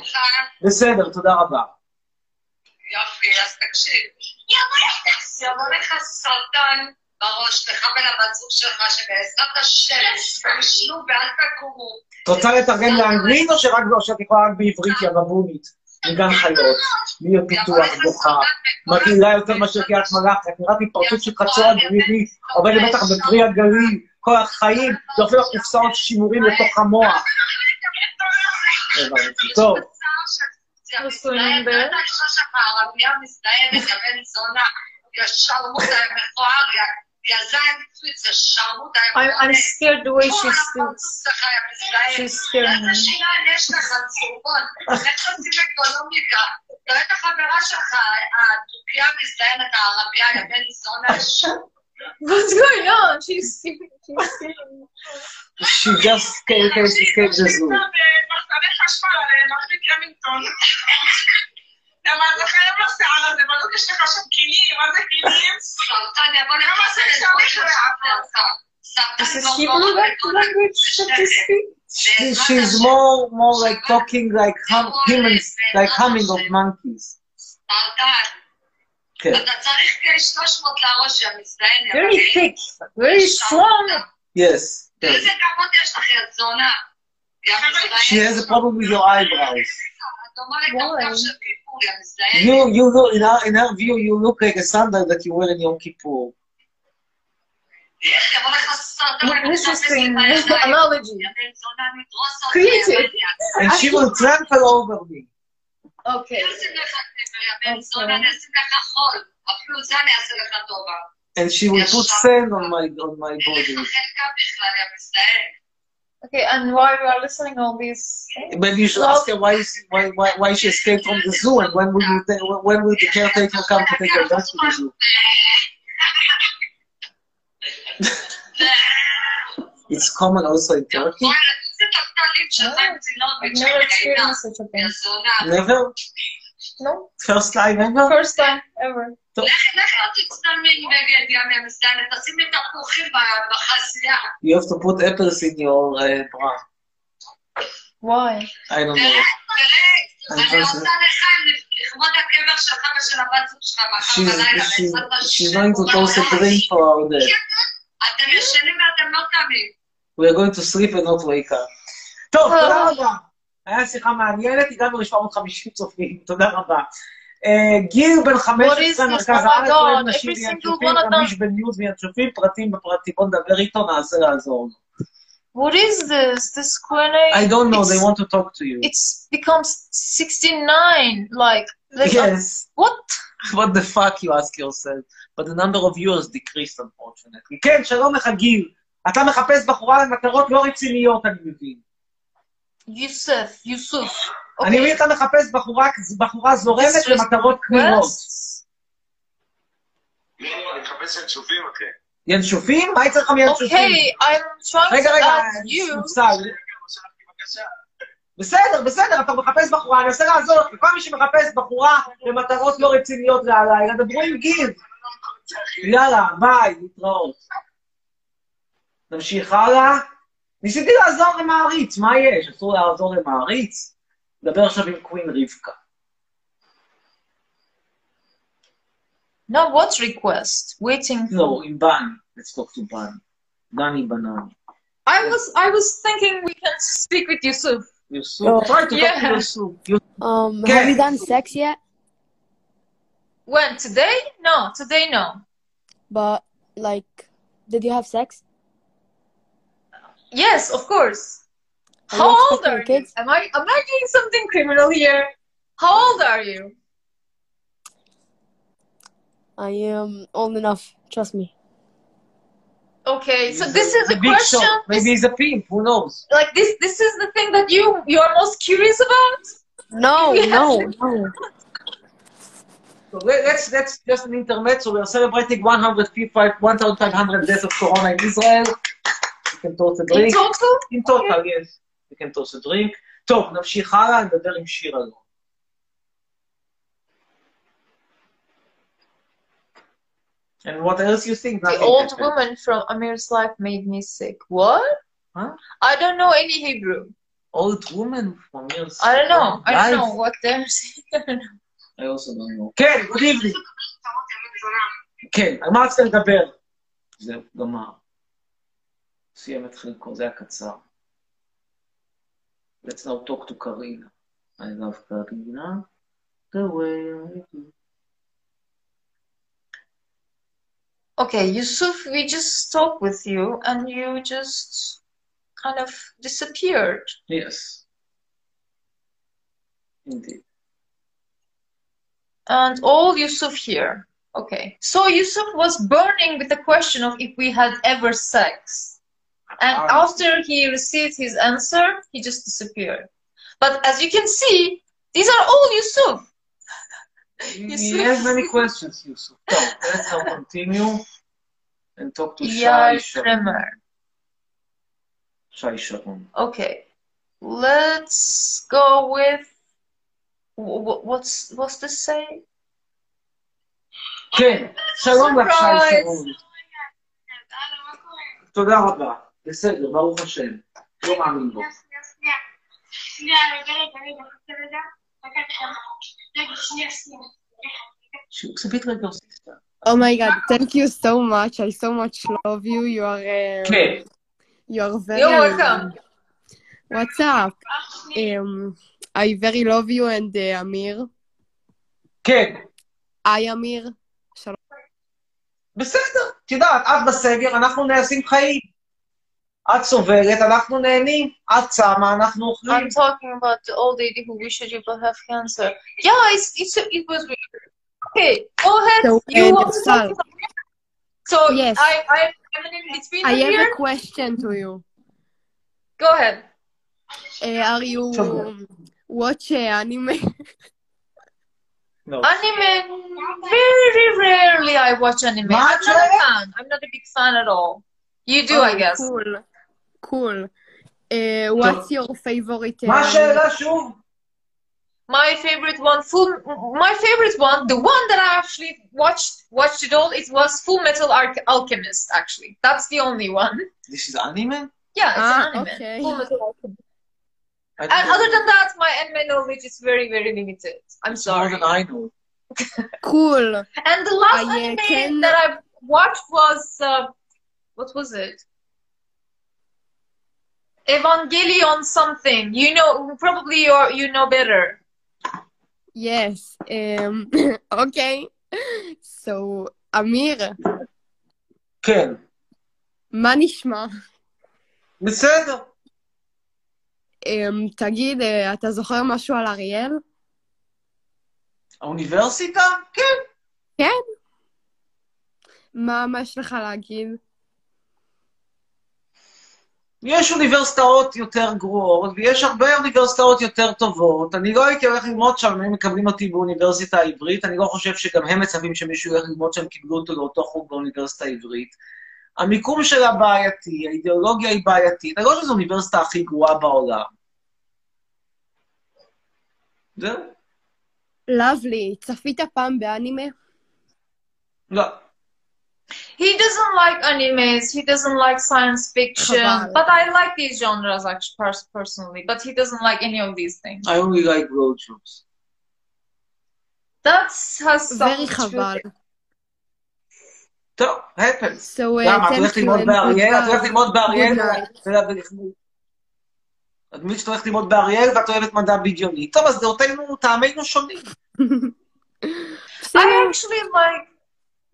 Speaker 5: בסדר, תודה רבה.
Speaker 6: יופי, אז תקשיב. יבוא לך, יבוא לך סרטן בראש, לך ולמצוג שלך, שבעזרת השם, תשנו ואל תקומו.
Speaker 5: את רוצה לתרגם לאנגלית או שרק או שאת יכולה רק בעברית יא בבונית? מגן חיות, להיות פיתוח דוחה, מגעילה יותר מאשר קריית מלאכי, את נראית התפרצות של חצור הגריבי, עובדת בטח בפרי הגליל, כל החיים, זה הופך קופסאות שימורים לתוך המוח. הבנתי. טוב,
Speaker 2: I'm, I'm scared the way she speaks.
Speaker 6: she's
Speaker 2: She's scaring me.
Speaker 6: יש לך צהובות, לך תשים אקונומיקה, תראה את החברה שלך, הטורקיה מזדיינת, הערבייה, יבן זונה, שוב.
Speaker 2: What's going on? She's scaring she's scaring me.
Speaker 8: She just can't can't escape the zoo.
Speaker 6: מחנה חשמל, מחליט למינגטון. למה אתה חייב לשיער הזה, בנות יש לך שם קינים, מה זה קינים? סרטניה, בוא נראה מה זה אפשר לך.
Speaker 2: This is Hebrew like language that they speak.
Speaker 8: She, she's more more like talking like hum, humans, like humming of monkeys. כן.
Speaker 6: אתה צריך כ-300 לראש שהמזדיינת.
Speaker 2: Very thick, very strong.
Speaker 8: Yes. yes.
Speaker 6: איזה כבוד יש לך, יא זונה? יא מזדיינת.
Speaker 8: She has a problem with your eyebrows.
Speaker 6: את אומרת גם כך של קיפול, יא מזדיינת.
Speaker 8: You you look in her in her view you look like a sandal that you wear in Yom Kippur.
Speaker 6: איך יבוא לך סרטן,
Speaker 2: Interesting analogy.
Speaker 6: יא בן זונה, נדרוס אותך,
Speaker 2: Creative.
Speaker 6: יא מניאק.
Speaker 8: And she will trample over me.
Speaker 2: Okay.
Speaker 6: נשים לך נבר, יא בן זונה, אני אשים לך חול. אפילו זה אני אעשה לך טובה.
Speaker 8: And she will put sand on my on my
Speaker 6: אין לך
Speaker 8: body.
Speaker 6: חלקה בכלל, יא מזדיין.
Speaker 2: Okay, and while we are listening all these
Speaker 8: Maybe you should ask her why is- why why, why she escaped from the zoo and when will you ta- when will the caretaker come to take her back to the zoo? It's common also in Turkey.
Speaker 6: איזה טלטלים שלך עם צינורת,
Speaker 2: I've
Speaker 6: של
Speaker 2: never
Speaker 6: רעידה.
Speaker 2: experienced such a
Speaker 6: יא
Speaker 2: thing.
Speaker 6: זונה.
Speaker 8: Never
Speaker 2: No?
Speaker 8: first time ever.
Speaker 2: First time ever.
Speaker 6: לך לך לא תצטלמי עם בגד ים יא מזדיין, תשימי תפוחים ב- בחזייה.
Speaker 8: You have to put apples in your uh, bra.
Speaker 2: Why?
Speaker 8: I don't know.
Speaker 6: תראה, תראה,
Speaker 8: אני
Speaker 6: אני
Speaker 8: חושב-
Speaker 6: עושה לך לכבוד הקבר שלך ושל הבת זוג שלך מחר
Speaker 8: She's
Speaker 6: בלילה,
Speaker 8: she's,
Speaker 6: בעזרת השם.
Speaker 8: she's going to toast a drink for our dad.
Speaker 6: אתם ישנים ואתם לא קמים.
Speaker 8: We are going to sleep and not wake up. טוב, תודה רבה. היה שיחה מעניינת, הגענו ל-750 צופים, תודה רבה. אה, גיל בן 15,
Speaker 2: What is this?
Speaker 8: מרכז
Speaker 2: Oh my
Speaker 8: הארץ,
Speaker 2: God,
Speaker 8: אוהב נשים
Speaker 2: every single
Speaker 8: מינצ'ופים,
Speaker 2: one of them.
Speaker 8: חמיש בניוז מינצ'ופים, פרטים בפרטים, בוא נדבר איתו, נעשה לעזור לו.
Speaker 2: What is this? This Q&A?
Speaker 8: I don't know,
Speaker 2: It's-
Speaker 8: they want to talk to you.
Speaker 2: It's becomes 69. Like, let's not-
Speaker 8: Yes,
Speaker 2: what?
Speaker 8: what the fuck you ask yourself, but the number of viewers decreased unfortunately. כן, שלום לך גיל, אתה מחפש בחורה למטרות לא רציניות, אני מבין.
Speaker 2: Yusuf, Yusuf.
Speaker 8: אני מבין,
Speaker 2: Okay.
Speaker 8: אתה מחפש בחורה- בחורה זורמת
Speaker 2: This was-
Speaker 8: למטרות קרירות.
Speaker 2: Yes.
Speaker 10: לא, אני מחפש ינשופים, אחי.
Speaker 8: ינשופים? מה יצא לך מינשופים?
Speaker 2: Okay, I'm trying
Speaker 8: רגע,
Speaker 2: to
Speaker 8: רגע,
Speaker 2: add you.
Speaker 8: מוסל. בסדר, בסדר, אתה מחפש בחורה, אני מנסה לעזור לך, כל מי שמחפש בחורה למטרות לא רציניות להלילה, דברו עם גיל. יאללה, ביי, להתראות. נמשיך הלאה. ניסיתי לעזור למעריץ, מה יש? אסור לעזור למעריץ? נדבר עכשיו עם קווין רבקה.
Speaker 2: No, what request? Waiting for.
Speaker 8: לא, עם בני. let's talk to בני. בני בנן.
Speaker 2: I was I was thinking we can speak with Yusuf.
Speaker 8: יוסוף.
Speaker 7: לא.
Speaker 8: try to talk to
Speaker 2: Yeah.
Speaker 8: יוסוף.
Speaker 7: Um,
Speaker 8: כן.
Speaker 7: have you done sex yet?
Speaker 2: When today? No, today no.
Speaker 7: But, like, did you have sex?
Speaker 2: Yes, of course.
Speaker 7: Are
Speaker 2: How
Speaker 7: you
Speaker 2: old
Speaker 7: expecting
Speaker 2: are you?
Speaker 7: kids?
Speaker 2: Am I am I doing something criminal here? How old are you?
Speaker 7: I am old enough, trust me.
Speaker 2: Okay, so this is
Speaker 8: The
Speaker 2: a
Speaker 8: big
Speaker 2: question.
Speaker 8: shot. Maybe he's a pimp, who knows?
Speaker 2: Like this, this is the thing that you you are most curious about.
Speaker 7: No,
Speaker 2: Yeah.
Speaker 4: Oh,
Speaker 7: no, no.
Speaker 8: So let- let's that's just an intermezzo. We are celebrating 155 1,500 deaths of corona in Israel. You can toast a
Speaker 2: In
Speaker 8: drink.
Speaker 2: total,
Speaker 8: In total, yes. You can toast a drink. טוב, נמשיך הלאה, נדבר עם שיר אלון. And what else you think?
Speaker 2: the
Speaker 8: Nothing
Speaker 2: old
Speaker 8: happened.
Speaker 2: woman from Amir's life made me sick. What?
Speaker 8: Huh?
Speaker 2: I don't know any Hebrew.
Speaker 8: Old woman from your
Speaker 2: I don't know. I don't know
Speaker 8: life?
Speaker 2: what they're saying. I don't know.
Speaker 8: I also don't know. כן, good evening. כן, על מה רצית לדבר? זהו, גמר. סיים את חלקו, זה היה קצר. Let's now talk to קרינה. I love קרינה. The way I do.
Speaker 2: Okay, Yusuf, we just talked with you, and you just kind of disappeared.
Speaker 8: Yes. Indeed.
Speaker 2: And all Yusuf here. Okay. So Yusuf was burning with the question of if we had ever sex. And
Speaker 8: Ah.
Speaker 2: after he received his answer, he just disappeared. But as you can see, these are all Yusuf.
Speaker 8: He has E many questions, Yusuf. So, let's now continue and talk to
Speaker 2: Yar
Speaker 8: Shai Sharon.
Speaker 2: Kremer.
Speaker 8: Shai Sharon.
Speaker 2: Okay. Let's go with wh- wh- what's what's this say?
Speaker 8: כן, שלום לך,
Speaker 2: Surprise.
Speaker 8: שי שרון. תודה רבה. בסדר, ברוך השם. לא מאמין בו. She a bit like your sister.
Speaker 4: Oh my god, thank you so much. I so much love you. You are um,
Speaker 8: כן.
Speaker 4: you are very
Speaker 2: You're welcome.
Speaker 4: What's up? Um I very love you and uh, Amir.
Speaker 8: כן.
Speaker 4: היי אמיר. שלום.
Speaker 8: בסדר, את יודעת, את בסגר, אנחנו נעשים חיים. את סובלת, אנחנו נהנים, את צמה, אנחנו אוכלים.
Speaker 2: I'm talking about the old lady who wished you but have cancer. Yeah, it's, it's it was weird. Okay, go ahead.
Speaker 4: So,
Speaker 2: you
Speaker 4: uh,
Speaker 2: want to
Speaker 4: Nafsal.
Speaker 2: talk about So
Speaker 4: Yes.
Speaker 2: I I I'm in between
Speaker 4: I have
Speaker 2: here.
Speaker 4: a question to you.
Speaker 2: Go ahead.
Speaker 4: Uh, are you
Speaker 8: Sure.
Speaker 4: watch uh, anime?
Speaker 8: לא.
Speaker 2: Anime very rarely I watch anime. I'm
Speaker 8: Macho?
Speaker 2: not a fan. I'm not a big fan at all. You do, I
Speaker 4: Oh,
Speaker 2: guess.
Speaker 4: Cool. Cool. Uh, what's your favorite uh,
Speaker 8: מה השאלה שוב?
Speaker 2: My favorite one, full. My favorite one, the one that I actually watched watched it all. It was Full Metal Arch- Alchemist. Actually, that's the only one.
Speaker 8: This is anime?
Speaker 2: Yeah, it's
Speaker 4: Ah,
Speaker 2: an anime.
Speaker 4: okay.
Speaker 2: Full Metal Alchemist.
Speaker 8: I
Speaker 2: And
Speaker 8: don't
Speaker 2: other
Speaker 8: know.
Speaker 2: than that, my anime knowledge is very, very limited. I'm
Speaker 8: More
Speaker 2: sorry.
Speaker 8: than I know.
Speaker 4: cool.
Speaker 2: And the last
Speaker 4: I, uh,
Speaker 2: anime
Speaker 4: can-
Speaker 2: that I watched was uh, what was it? Evangelion something. You know, probably you you know better.
Speaker 4: Yes. Um, okay. So, אמיר,
Speaker 8: כן.
Speaker 4: מה נשמע?
Speaker 8: בסדר.
Speaker 4: Um, תגיד, uh, אתה זוכר משהו על אריאל?
Speaker 8: האוניברסיטה? כן.
Speaker 4: מה, מה יש לך להגיד?
Speaker 8: יש אוניברסיטאות יותר גרועות, ויש הרבה אוניברסיטאות יותר טובות. אני לא הייתי הולך ללמוד שם, הם מקבלים אותי באוניברסיטה העברית, אני לא חושב שגם הם מצפים שמישהו ילך ללמוד שם, קיבלו אותו לאותו חוג באוניברסיטה העברית. המיקום שלה בעייתי, האידיאולוגיה היא בעייתית, אני לא חושב שזו האוניברסיטה הכי גרועה בעולם. זהו?
Speaker 4: לבלי, צפית פעם באנימה?
Speaker 8: לא.
Speaker 2: He doesn't like animes. He doesn't like science fiction.
Speaker 4: Khabar.
Speaker 2: But I like these genres actually pers- personally. But he doesn't like any of these things.
Speaker 8: I only like road trips.
Speaker 2: That has something
Speaker 4: very
Speaker 2: to do
Speaker 4: חבל.
Speaker 8: טוב, happens.
Speaker 4: So, uh,
Speaker 8: למה, את
Speaker 4: thank
Speaker 8: הולכת
Speaker 4: you
Speaker 8: ללמוד
Speaker 4: and
Speaker 8: באריאל? את
Speaker 4: goodbye.
Speaker 8: הולכת ללמוד באריאל?
Speaker 4: Good night.
Speaker 8: אתה יודע, ולכמוד- את מי שאת הולכת ללמוד באריאל ואת אוהבת מדע בדיוני. טוב, אז דעותינו, טעמינו שונים.
Speaker 2: I
Speaker 4: בסדר.
Speaker 2: actually like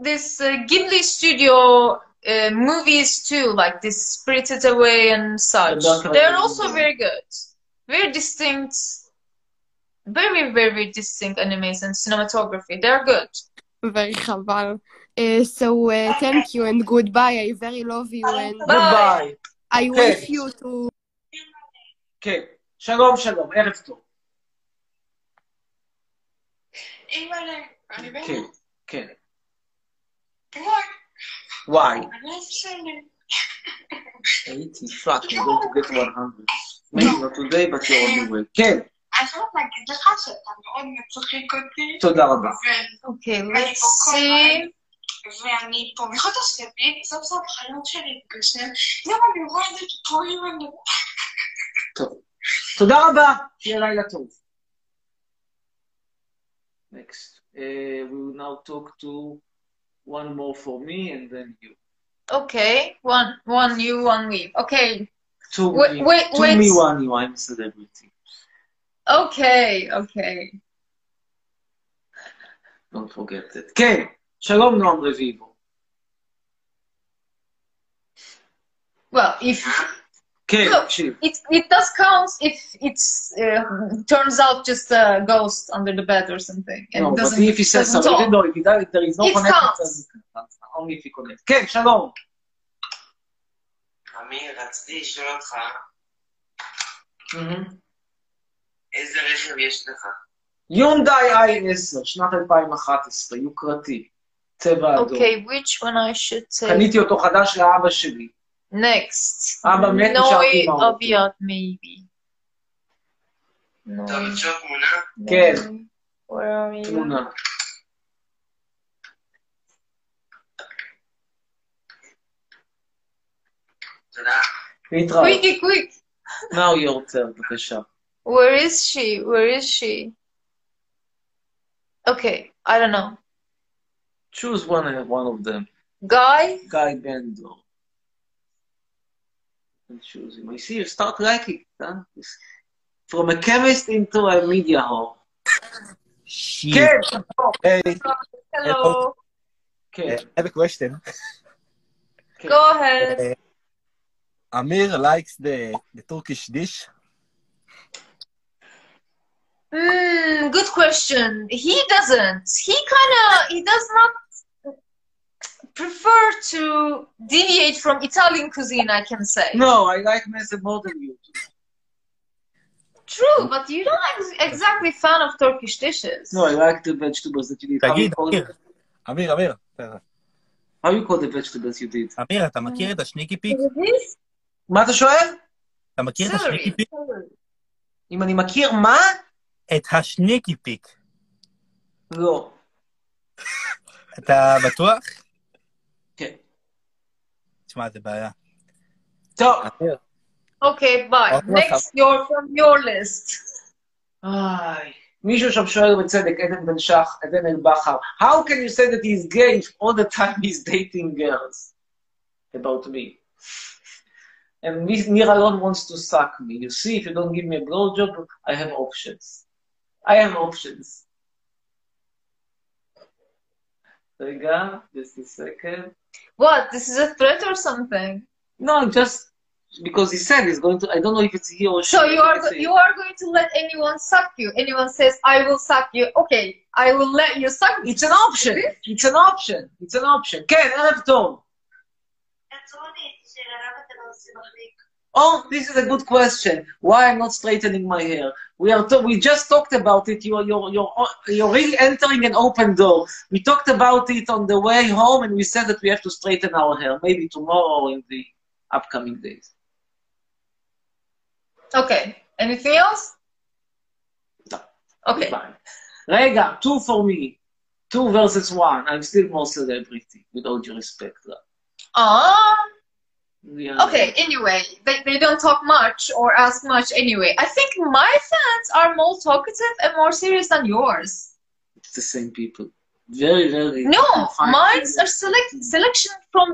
Speaker 2: this uh, Ghibli studio uh, movies too, like this Spirited Away and such.
Speaker 8: The Dark
Speaker 2: They're
Speaker 8: Knight.
Speaker 2: also very good, very distinct, very very distinct animes and cinematography. They're good.
Speaker 4: very חבל. Uh, so, uh, thank you and goodbye. I very love you and
Speaker 2: Bye.
Speaker 8: ביי.
Speaker 4: I wish you to...
Speaker 8: כן. שלום, שלום, ערב טוב. כן, כן. וואי. הייתי פאק, I'm going to get 100. Maybe not today, but you're on your way. כן, תודה רבה.
Speaker 2: Okay, let's see.
Speaker 6: ואני פה מחוץ לשבי, סוף סוף החלום שלי מתגשם. למה אני רואה את זה כפורים אני...
Speaker 8: טוב. תודה רבה, שיהיה לילה טוב. Next. Uh, we will now talk to one more for me and then you.
Speaker 2: Okay, one one you, one we. Okay,
Speaker 8: To
Speaker 2: Wait,
Speaker 8: me,
Speaker 2: wait,
Speaker 8: to
Speaker 2: wait.
Speaker 8: me one you, I'm a celebrity.
Speaker 2: okay, okay.
Speaker 8: Don't forget that. כן, שלום נועם רביבו.
Speaker 2: Well, if
Speaker 5: כן,
Speaker 2: Look,
Speaker 5: תקשיב.
Speaker 2: it it does count if it's uh, turns out just a ghost under the bed or something. And
Speaker 5: No,
Speaker 2: it
Speaker 5: but
Speaker 2: doesn't,
Speaker 5: if he says
Speaker 2: doesn't
Speaker 5: something,
Speaker 2: talk.
Speaker 5: no, if he does, there is no
Speaker 2: It
Speaker 5: connection,
Speaker 2: counts.
Speaker 5: אז- אז only if he connects. כן, שלום.
Speaker 11: אמיר, רציתי לשאול אותך, איזה רכב יש לך?
Speaker 5: יונדאי i10, שנת 2011, יוקרתי, צבע אדום.
Speaker 2: Okay, which one I should say
Speaker 5: קניתי אותו חדש לאבא שלי.
Speaker 2: next?
Speaker 5: אבא מת נשארתי
Speaker 2: Noi
Speaker 5: עם האוטו.
Speaker 2: Aviat, maybe. No.
Speaker 11: טוב, אפשר תמונה?
Speaker 5: כן,
Speaker 2: Where are you?
Speaker 5: תמונה.
Speaker 11: תודה.
Speaker 5: להתראות.
Speaker 2: Quick, quick.
Speaker 5: נאו יורצר, בבקשה.
Speaker 2: Where is she? Where is she? Okay, I don't know.
Speaker 5: choose one, one of them.
Speaker 2: Guy?
Speaker 5: Guy Bendor. And choose him. I see you start liking it, huh? This- From a chemist into a media hall.
Speaker 8: Shit.
Speaker 5: כן.
Speaker 8: Hey,
Speaker 2: Hello.
Speaker 8: I
Speaker 5: כן,
Speaker 8: have a question.
Speaker 5: כן.
Speaker 2: Go ahead.
Speaker 8: Uh, Amir likes the, the Turkish dish.
Speaker 2: Mm, good question. He doesn't. He kind of he does not prefer to deviate from Italian cuisine, I can say.
Speaker 5: No, I like method more than you.
Speaker 2: True, but you're not ex- exactly fan of Turkish dishes.
Speaker 5: No, I like the vegetables that you did. How you
Speaker 8: תגיד,
Speaker 5: call,
Speaker 8: אמיר, אמיר, אמיר,
Speaker 5: how you call the vegetables you did?
Speaker 8: אמיר, אתה מכיר את השניקי פיק?
Speaker 2: This?
Speaker 5: מה אתה שואל?
Speaker 8: אתה מכיר את השניקי
Speaker 2: Celery.
Speaker 8: פיק?
Speaker 5: אם אני מכיר מה?
Speaker 8: את השניקי פיק.
Speaker 5: לא.
Speaker 8: אתה בטוח?
Speaker 5: כן.
Speaker 8: תשמע, זה בעיה.
Speaker 5: טוב.
Speaker 8: אמיר,
Speaker 2: Okay, bye.
Speaker 8: Oh, no,
Speaker 2: Next, your from your list.
Speaker 5: איי. מישהו שם שואל בצדק, עדן בן שח, עדן אל בכר, How can you say that he is gay if all the time he's dating girls? About me. And Mi- Nir Alon wants to suck me. You see, if you don't give me a blowjob, I have options. I have options. רגע, just a second.
Speaker 2: What? This is a threat or something?
Speaker 5: No, just because he said he's going to, I don't know if it's he or she.
Speaker 2: So you are
Speaker 5: Let's
Speaker 2: go-
Speaker 5: see.
Speaker 2: you are going to let anyone suck you? Anyone says I will suck you? Okay, I will let you suck me.
Speaker 5: It's an option. It's an option. It's an option. כן, ערב טוב.
Speaker 6: רצוני, שלרב אתה לא עושה מחליק.
Speaker 5: Oh, this is a good question. Why I'm not straightening my hair? We are to- we just talked about it. You're you're you're you're really entering an open door. We talked about it on the way home, and we said that we have to straighten our hair. Maybe tomorrow or in the upcoming days.
Speaker 2: Okay. Anything else?
Speaker 5: No.
Speaker 2: Okay.
Speaker 5: Fine. רגע, two for me. Two versus one. I'm still more celebrity, with all due respect.
Speaker 2: Ah.
Speaker 5: We are-
Speaker 2: Okay. Anyway, they, they don't talk much or ask much. Anyway, I think my fans are more talkative and more serious than yours.
Speaker 5: It's the same people. Very, very.
Speaker 2: No,
Speaker 5: fine.
Speaker 2: mine are select selection from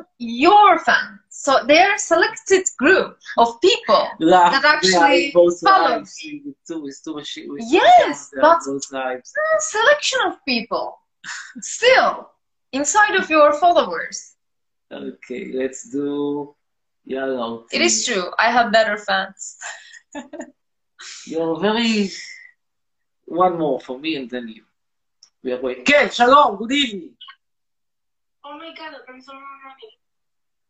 Speaker 2: your fans. So they're selected group of people.
Speaker 5: Laugh,
Speaker 2: that actually
Speaker 5: yeah, both
Speaker 2: follow.
Speaker 5: lives. It's too, it's too much. it's-
Speaker 2: Yes,
Speaker 5: Yeah,
Speaker 2: but
Speaker 5: both lives.
Speaker 2: a selection of people still inside of your followers.
Speaker 5: Okay, let's do yellow.
Speaker 2: It is true. I have better fans.
Speaker 5: You're very. One more for me and then you. We are waiting. כן, שלום, good evening.
Speaker 6: אומייגאד, אתה מזמן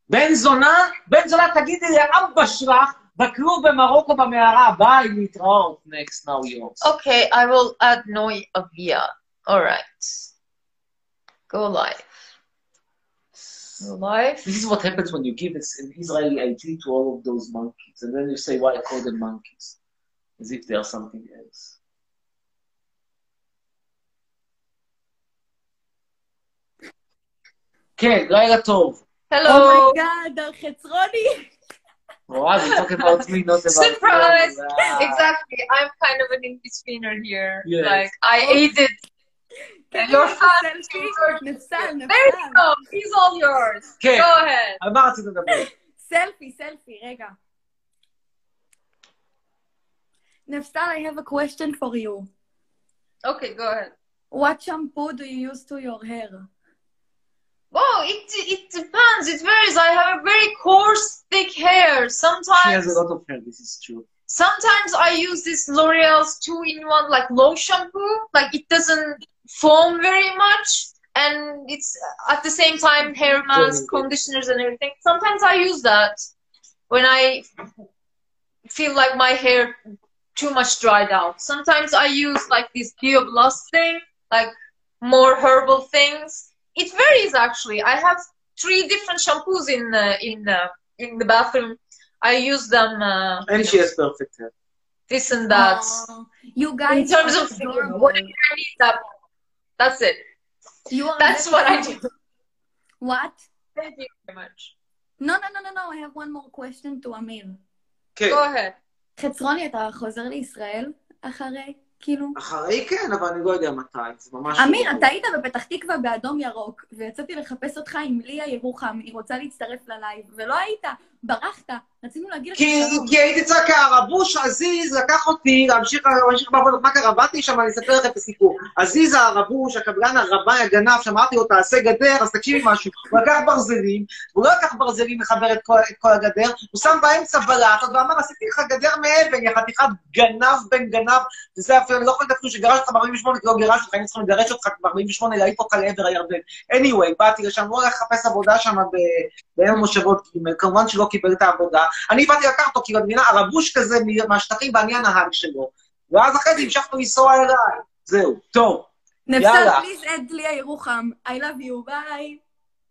Speaker 5: בן זונה, בן זונה, תגידי לאבא שלך, בכלוב במרוקו במערה, ביי, להתראות. Next now yours.
Speaker 2: Okay, I will add Noi Avia. All right. Go live. Go live.
Speaker 5: This is what happens when you give us an Israeli ID to all of those monkeys, and then you say, why I call them monkeys? As if they are something else. כן, לילה טוב.
Speaker 3: Oh
Speaker 2: Hello.
Speaker 3: אומייגאד, חצרוני!
Speaker 5: וואו, זה לא talk about me, not about
Speaker 2: Surprise!
Speaker 5: them.
Speaker 2: exactly. I'm kind of an in betweener here.
Speaker 5: Yes.
Speaker 2: Like I ate it.
Speaker 3: כן,
Speaker 2: Your
Speaker 3: יש
Speaker 2: fans
Speaker 3: סלפי.
Speaker 2: are-
Speaker 3: נפסל,
Speaker 2: There you
Speaker 3: נפסל.
Speaker 2: go. He's all yours.
Speaker 5: כן,
Speaker 2: Go ahead.
Speaker 5: על מה רצית לדבר?
Speaker 3: סלפי, סלפי, רגע. נפסל, I have a question for you.
Speaker 2: Okay, go ahead.
Speaker 3: What shampoo do you use to your hair?
Speaker 2: Wow, it it depends. It varies. I have a very coarse, thick fake hair.
Speaker 8: She has
Speaker 2: Sometimes
Speaker 5: לא
Speaker 8: a lot of hair, this is true.
Speaker 2: sometimes I use this L'Oreal's two-in-one like low shampoo. Like it doesn't foam very much, and it's at the same time hair mask, conditioners, and everything. Sometimes I use that when I feel like my hair too much dried out. Sometimes I use like this Geoblast thing, like more herbal things. It varies actually. I have three different shampoos in uh, in uh, in the bathroom. I use them. Uh,
Speaker 8: And
Speaker 2: you
Speaker 8: she
Speaker 2: know,
Speaker 8: has perfect hair.
Speaker 2: this and that.
Speaker 3: you guys
Speaker 2: Uh, in terms
Speaker 3: are
Speaker 2: of
Speaker 3: adorable.
Speaker 2: what I need that. That's it.
Speaker 3: You are
Speaker 2: Oh, That's what I do.
Speaker 3: adorable. What?
Speaker 2: Thank you very much.
Speaker 3: No, no, no, no, no, I have one more question to אמיר.
Speaker 8: כן.
Speaker 2: Go ahead.
Speaker 3: חצרוני, אתה חוזר לישראל אחרי? כאילו...
Speaker 8: אחרי כן, אבל אני לא יודע מתי, זה ממש...
Speaker 5: לא
Speaker 3: אמיר, אתה היית בפתח תקווה באדום ירוק, ויצאתי לחפש אותך עם ליה ירוחם, היא רוצה להצטרף ללייב, ולא היית, ברחת, רצינו להגיד לך
Speaker 8: כי, כי הייתי צועק הרבוש, עזיז לקח אותי להמשיך, להמשיך בעבודות, מה קרה? באתי שם, אני אספר לכם את הסיפור. עזיז הרבוש, הקבלן הרבי הגנב, שאמרתי לו, תעשה גדר, אז תקשיבי משהו. הוא לקח ברזלים, הוא לא לקח ברזלים לחבר את כל, את כל הגדר, הוא שם באמצע בלטות ואמר, עשיתי לך גדר מאבן, יא חתיכת גנב בן גנב, וזה אפילו, אני לא יכול לדעת שגרש אותך ב-48, כי לא גירש אותך, היינו צריכים לגרש אותך ב-48, להעיף אותך לעבר הירדן. anyway, באתי לשם, הוא הולך לחפש עבודה שם ב- בעיר מושבות ג', כמובן שהוא לא קיבל את העבודה. אני באתי לקחת אותו, כי במדינה, הרבוש כזה מ- מהשטחים ואני הנהג שלו. ואז אחרי זה המשכנו לנסוע אליי. זהו, טוב.
Speaker 3: נפסל
Speaker 8: יאללה,
Speaker 3: פליז את ליה ירוחם, I love you, ביי.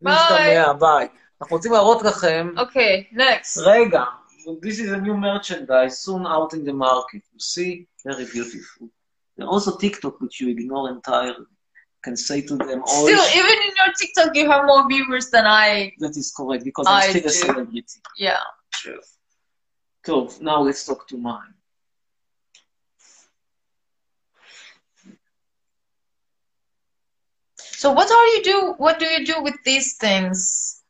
Speaker 8: נשתמע, ביי. אנחנו רוצים להראות לכם...
Speaker 2: אוקיי, נקסט.
Speaker 8: רגע, this is a new merchandise, soon out in the market. You see, very beautiful. There also TikTok, which you ignore entirely. Can say to them all...
Speaker 2: Still, even in your TikTok, you have more viewers than I.
Speaker 8: That is correct, because I'm
Speaker 2: I
Speaker 8: still a
Speaker 2: do.
Speaker 8: celebrity.
Speaker 2: Yeah.
Speaker 8: True. טוב, now let's talk to mine.
Speaker 2: So what are you do? What do you do with these things?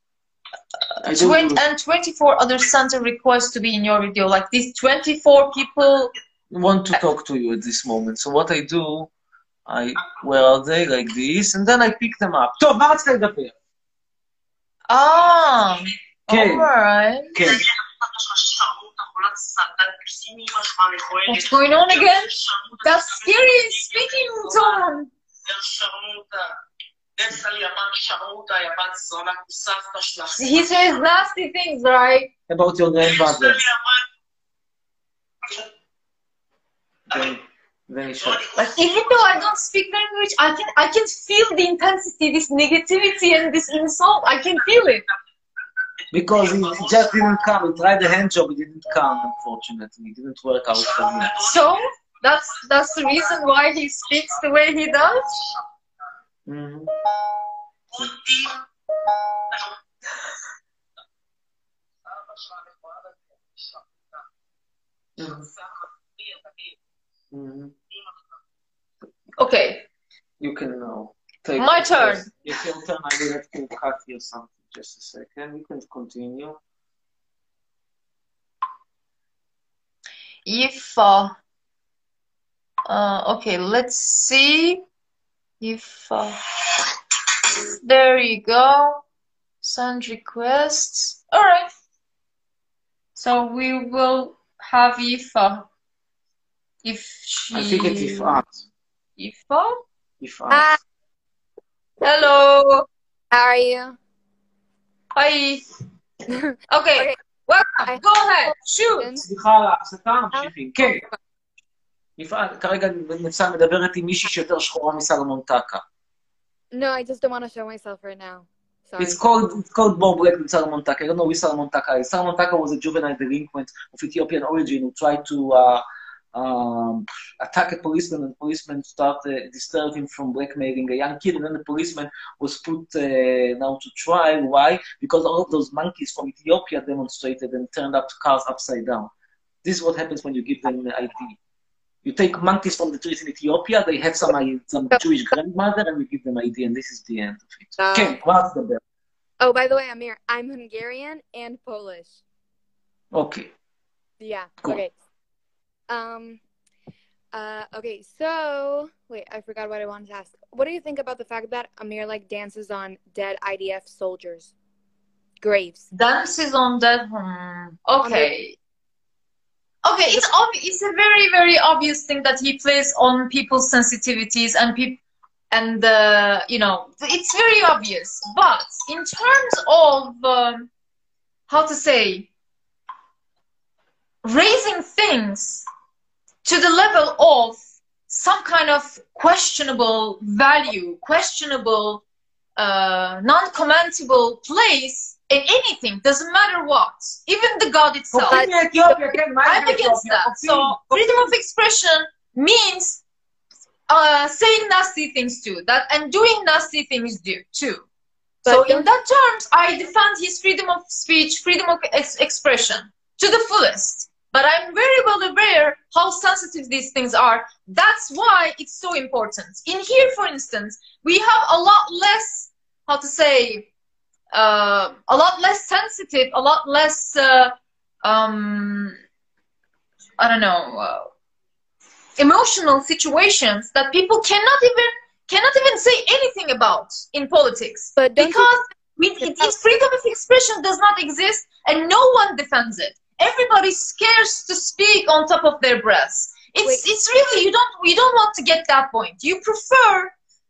Speaker 8: I don't
Speaker 2: Twen-
Speaker 8: know.
Speaker 2: and 24 other center requests to be in your video. Like these 24 people.
Speaker 8: want to talk to you at this moment. So what I do, I where are they like this, and then I pick them up. טוב, מה רצית לדבר?
Speaker 2: Ah.
Speaker 8: כן.
Speaker 2: Alright.
Speaker 8: כן.
Speaker 2: What's going on again? That scary speaking tone. He says nasty things, right?
Speaker 8: About your grandfather. Then, then he shut.
Speaker 2: Like even though I don't speak language, I can I can feel the intensity, this negativity, and this insult. I can feel it.
Speaker 8: Because he just didn't come. He tried the hand job, it didn't come, unfortunately. It didn't work out for me.
Speaker 2: So that's that's the reason why he speaks the way he does.
Speaker 8: Mhm. Mhm.
Speaker 2: Okay,
Speaker 8: You can now. Take
Speaker 2: My
Speaker 8: it.
Speaker 2: turn.
Speaker 8: Yes, You can turn. I will have to cut here something. Just a second. You can continue.
Speaker 2: if uh, uh, okay, let's see if uh, there you go. Send requests. All right. So we will have Ifa. If she.
Speaker 8: I think it's if art.
Speaker 2: Ifa?
Speaker 8: If
Speaker 12: Hi.
Speaker 8: art.
Speaker 2: Hello.
Speaker 12: How are you?
Speaker 2: Hi. Okay. Welcome. Go ahead. Shoot.
Speaker 8: סליחה על ההפסקה, ממשיכים. כן. יפעת, כרגע נפסה מדברת עם מישהי שיותר שחורה מסלומון טקה.
Speaker 12: No, I just don't want to show myself right now. Sorry.
Speaker 8: It's called, it's called Bob Black with Salomon Taka. I don't know who Salomon Taka is. Salomon Taka was a juvenile delinquent of Ethiopian origin who tried to uh, um, attack a policeman, and the policeman started uh, disturbed him from blackmailing a young kid. And then the policeman was put uh, now to trial. Why? Because all of those monkeys from Ethiopia demonstrated and turned up cars upside down. This is what happens when you give them the ID. You take monkeys from the trees in Ethiopia, they have some, some Jewish grandmother, and you give them ID, and this is the end of it.
Speaker 12: Uh,
Speaker 8: Ken, what's the bell?
Speaker 12: Oh, by the way, Amir, I'm Hungarian and Polish.
Speaker 8: Okay.
Speaker 12: Yeah.
Speaker 8: Cool.
Speaker 12: Okay. Um. Uh. Okay. So wait, I forgot what I wanted to ask. What do you think about the fact that Amir like dances on dead IDF soldiers? graves.
Speaker 2: Dance is on the hmm, okay. Okay, it's obvi- it's a very very obvious thing that he plays on people's sensitivities and people and uh, you know it's very obvious. But in terms of um, how to say raising things to the level of some kind of questionable value, questionable, uh, non-commentable place in anything, doesn't matter what, even the God itself.
Speaker 8: קופים מאתיופיה, כן, מה יש
Speaker 2: I'm against
Speaker 8: באתיופיה?
Speaker 2: that. So freedom of expression means uh, saying nasty things too, that and doing nasty things do, too. so in that terms, I defend his freedom of speech, freedom of ex- expression to the fullest. But I'm very well aware how sensitive these things are. That's why it's so important. In here, for instance, we have a lot less, how to say, uh, a lot less sensitive, a lot less, uh, um, I don't know, uh, emotional situations that people cannot even cannot even say anything about in politics but because we, it, it- freedom of expression does not exist and no one defends it everybody's scared to speak on top of their breaths it's it's really you don't you don't want to get that point you prefer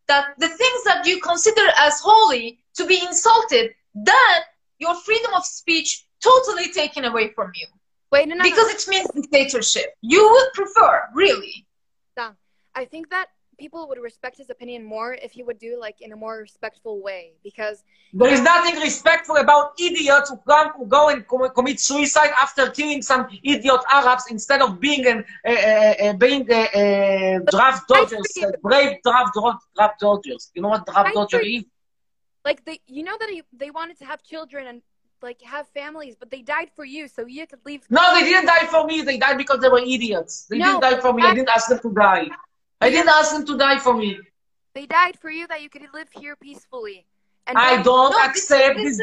Speaker 2: that the things that you consider as holy to be insulted than your freedom of speech totally taken away from you
Speaker 12: Wait, no, no,
Speaker 2: because
Speaker 12: no.
Speaker 2: it means dictatorship you would prefer really
Speaker 12: Dang. I think that people would respect his opinion more if he would do like in a more respectful way because
Speaker 8: There is nothing respectful about idiots who, come, who go and com- commit suicide after killing some idiot Arabs instead of being an, uh, uh, uh, being uh, uh, draft dodgers, uh, brave draft dro- draft dodgers. You know what draft dodger is?
Speaker 12: like they you know that he, they wanted to have children and like have families but they died for you so you could leave
Speaker 8: No, they didn't die for me. They died because they were idiots. They
Speaker 12: No,
Speaker 8: didn't die for me. I didn't ask them to die. I didn't ask them to die for me.
Speaker 12: they died for you that you could live here peacefully and
Speaker 8: I don't
Speaker 12: No, this-
Speaker 8: accept this,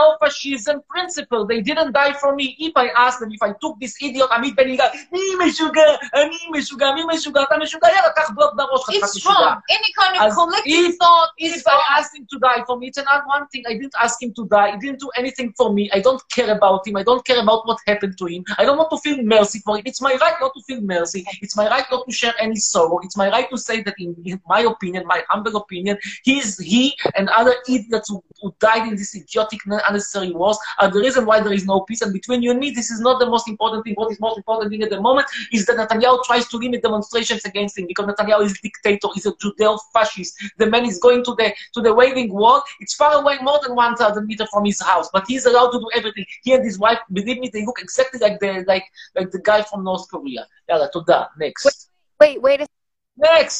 Speaker 8: Judeo-fascism principle. They didn't die for me. If I asked them, if I took this idiot עמית בן יגאל, מי משוגע, אני משוגע, מי משוגע, אתה משוגע, יאללה, קח בלוק בראש, חתיכת
Speaker 2: It's
Speaker 8: משוגע.
Speaker 2: wrong. Any kind of
Speaker 8: As
Speaker 2: collective
Speaker 8: if-
Speaker 2: thought
Speaker 8: If
Speaker 2: is
Speaker 8: I
Speaker 2: wrong.
Speaker 8: asked him to die for me, it's not one thing. I didn't ask him to die. He didn't do anything for me. I don't care about him. I don't care about what happened to him. I don't want to feel mercy for him. It's my right not to feel mercy. It's my right not to share any sorrow. It's my right to say that, in, in my opinion, my humble opinion, he's he and other idiots who, who died in this idiotic, non- unnecessary wars are the reason why there is no peace. And between you and me, this is not the most important thing. What is most important thing at the moment is that Netanyahu tries to limit demonstrations against him because Netanyahu is a dictator, he's a Judeo-fascist. The man is going to the to the waving wall. It's far away, more than 1,000 meters from his house, but he's allowed to do everything. He and his wife, believe me, they look exactly like the like like the guy from North Korea. Yalla, toda. Next.
Speaker 12: wait wait a
Speaker 8: next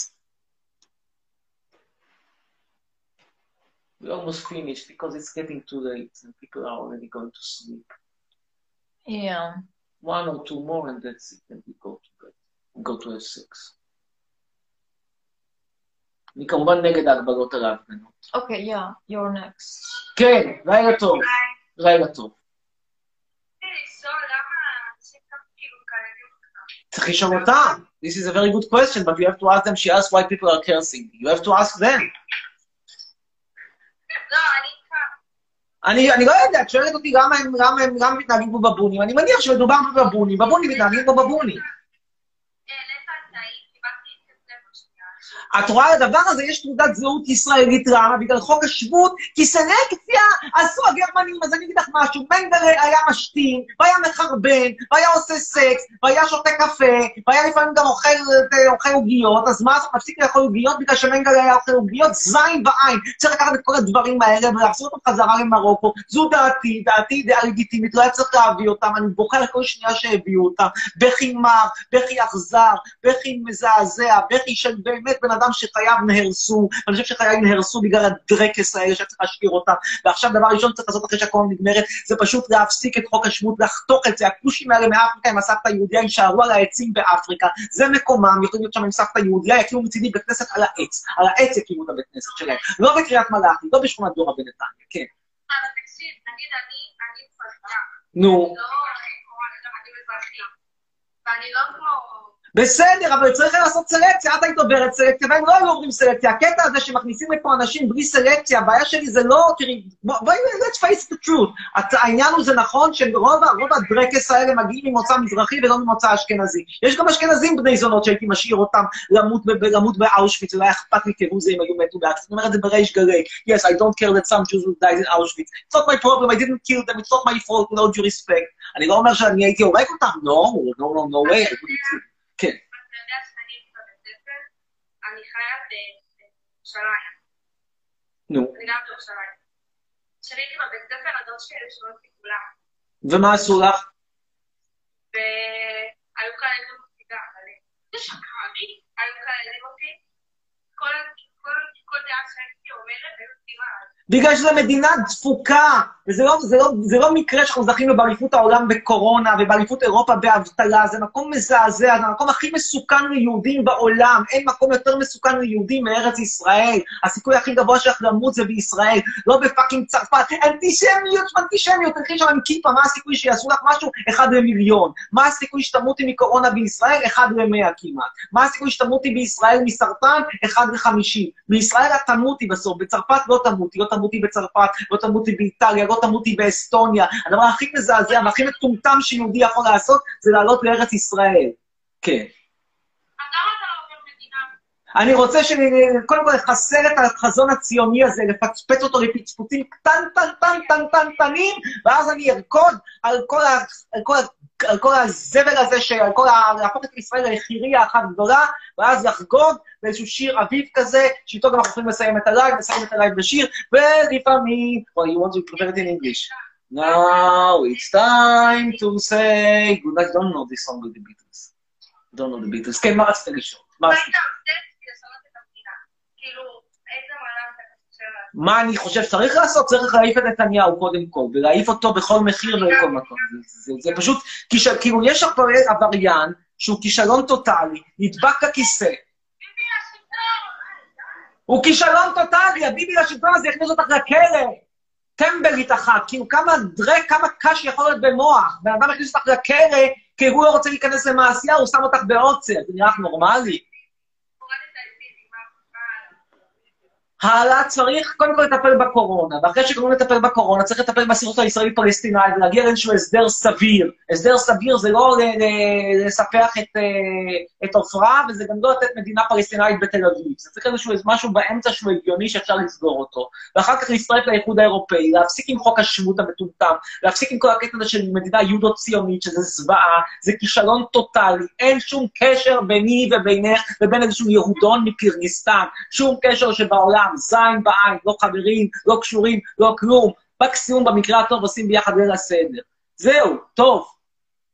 Speaker 8: We almost finished because it's getting too late and people are already going to sleep.
Speaker 2: Yeah.
Speaker 8: One or two more and that's it. And we go to bed. Go to F6. אני כמובן נגד ההגבלות על ההפגנות.
Speaker 2: Okay, yeah, you're next.
Speaker 8: כן, לילה טוב. לילה טוב. צריך לשאול אותם. This is a very good question, but you have to ask them, she asked why people are cursing. You have to ask them. אני, אני לא יודע, את שואלת אותי למה הם, למה הם, למה מתנהגים כמו בבונים. אני מניח שמדובר פה בבונים, בבונים מתנהגים כמו בבונים. את רואה, לדבר הזה יש תעודת זהות ישראלית למה? בגלל חוק השבות, כי סלקציה עשו הגרמנים, אז אני אגיד לך משהו, מנדלה היה משתין, והיה מחרבן, והיה עושה סקס, והיה שותה קפה, והיה לפעמים גם אוכל אה, אוכל עוגיות, אז מה, אז הוא מפסיק לאכול עוגיות בגלל שמנדלה היה אוכל עוגיות? זין בעין. צריך לקחת את כל הדברים האלה ולהחזיר אותם חזרה למרוקו. זו דעתי, דעתי היא דעה לגיטימית, לא היה צריך להביא אותם, אני בוכה על כל שנייה שהביאו אותם. בכי מר, בכי אכזר, בכי מזעזע, בכי של באמת בן אדם שחייו נהרסו, אני חושב שחייו נהרסו בגלל הדרקס האלה שהיה צריך להשאיר אותם, ועכשיו דבר ראשון שצריך לעשות אחרי שהקורונה נגמרת, זה פשוט להפסיק את חוק השבות, לחתוך את זה, הכושים האלה מאפריקה עם הסבתא היהודיה יישארו על העצים באפריקה, זה מקומם, יכולים להיות שם עם סבתא יהודיה, יקימו מצידי בית כנסת על העץ, על העץ יקימו את הבית כנסת שלהם, לא בקריית מלאכי, לא בשכונת דורה בנתניה, כן. נו.
Speaker 6: אני לא, אני מזרחית. ואני לא כמו...
Speaker 8: בסדר, אבל צריך לעשות סלקציה, את היית עוברת סלקציה, והם לא היו עוברים סלקציה. הקטע הזה שמכניסים לפה אנשים בלי סלקציה, הבעיה שלי זה לא, תראי, בוא- בואי, let's face the truth. הצ- העניין הוא, זה נכון שרוב ה- רוב הדרקס האלה מגיעים ממוצא מזרחי ולא ממוצא אשכנזי. יש גם אשכנזים בני זונות שהייתי משאיר אותם למות ב- ב- למות באושוויץ, ולא היה אכפת לי כהוא זה אם היו מתו באקס. אני אומר את זה בריש גלי. Yes, I don't care that some Jews will die in Auschwitz. It's not my problem, I didn't kill them, it's not my fault, no due respect. אני לא אומר שאני הייתי הורג אותם, no, no, no, no way. I wouldn't kill. כן.
Speaker 6: אתה יודע שאני בבית ספר, אני חיה ב- בירושלים.
Speaker 8: נו.
Speaker 6: אני גם בירושלים. כשהייתי בבית ספר, הדוד שלי היו שומעים אותי כולם.
Speaker 8: ומה עשו לך?
Speaker 6: והיו כאלה ילדים אותי גם, אבל זה שקרני, היו כאלה ילדים אותי. כל- כל- כל דעה שהייתי אומרת, היו עושים עליי.
Speaker 8: בגלל שזו מדינה דפוקה, וזה לא, זה לא, זה לא מקרה שאנחנו זכינו באליפות העולם בקורונה ובאליפות אירופה באבטלה, זה מקום מזעזע, זה המקום הכי מסוכן ליהודים בעולם, אין מקום יותר מסוכן ליהודים מארץ ישראל, הסיכוי הכי גבוה שלך למות זה בישראל, לא בפאקינג צרפת, אנטישמיות, אנטישמיות, תלכי שם עם כיפה, מה הסיכוי שיעשו לך משהו? אחד למיליון. מה הסיכוי שתמותי מקורונה בישראל? אחד למאה כמעט. מה הסיכוי שתמותי בישראל מסרטן? אחד לחמישים. בישראל את תמותי בסוף, בצרפת לא תמותי, לא תמותי בצרפת, לא תמותי באיטליה, לא תמותי באסטוניה. הדבר הכי מזעזע והכי מטומטם שיהודי יכול לעשות זה לעלות לארץ ישראל. כן.
Speaker 6: לא
Speaker 8: אני רוצה שקודם כל לחסל את החזון הציוני הזה, לפצפץ אותו לפצפוצים קטנטנטנטנטנטנים, ואז אני ארקוד על כל, ה, על, כל, ה- על כל הזבל הזה, ש- על כל ה... להפוך את ישראל לחירייה אחת גדולה, ואז לחגוג באיזשהו שיר אביב כזה, שאיתו גם אנחנו יכולים לסיים את הלייב, לסיים את הלייב בשיר, ולפעמים... Oh, you want to prepare it in English. Now it's time to say... Good night, don't know this song with the Beatles. Don't know the Beatles. כן, מה רצית לשאול? מה רצית? מה אני חושב שצריך לעשות? צריך להעיף את נתניהו קודם כל, ולהעיף אותו בכל מחיר ובכל מקום. זה, זה פשוט, כיש, כאילו, יש עבר- עבריין שהוא כישלון טוטאלי, נדבק לכיסא. הוא כישלון טוטאלי, הביבי לשלטון הזה יכניס אותך לכלא. טמבלית אחת, כאילו כמה דרק, כמה קש יכול להיות במוח. בן אדם הכניס אותך לכלא, כי הוא לא רוצה להיכנס למעשייה, הוא שם אותך בעוצר. זה נראה לך נורמלי? הלאה, צריך קודם כל לטפל בקורונה, ואחרי שגמרו לטפל בקורונה, צריך לטפל בסכסוך הישראלי-פלסטיני ולהגיע לאיזשהו הסדר סביר. הסדר סביר זה לא ל- ל- לספח את, אה, את עופרה, וזה גם לא לתת מדינה פלסטינאית בתל אביב. זה צריך איזשהו משהו באמצע שהוא הגיוני שאפשר לסגור אותו. ואחר כך להצטרף לאיחוד האירופאי, להפסיק עם חוק השבות המטומטם, להפסיק עם כל הקטע הזה של מדינה יהודו-ציונית, שזה זוועה, זה כישלון טוטאלי, אין שום קשר ביני ובינך ובין איזשהו יהודון מקירגיסטן, שום קשר שבעולם, זין בעין, לא חברים, לא קשורים, לא כלום, מקסימום במקרה הטוב עושים ביחד ליל הסדר. זהו, טוב.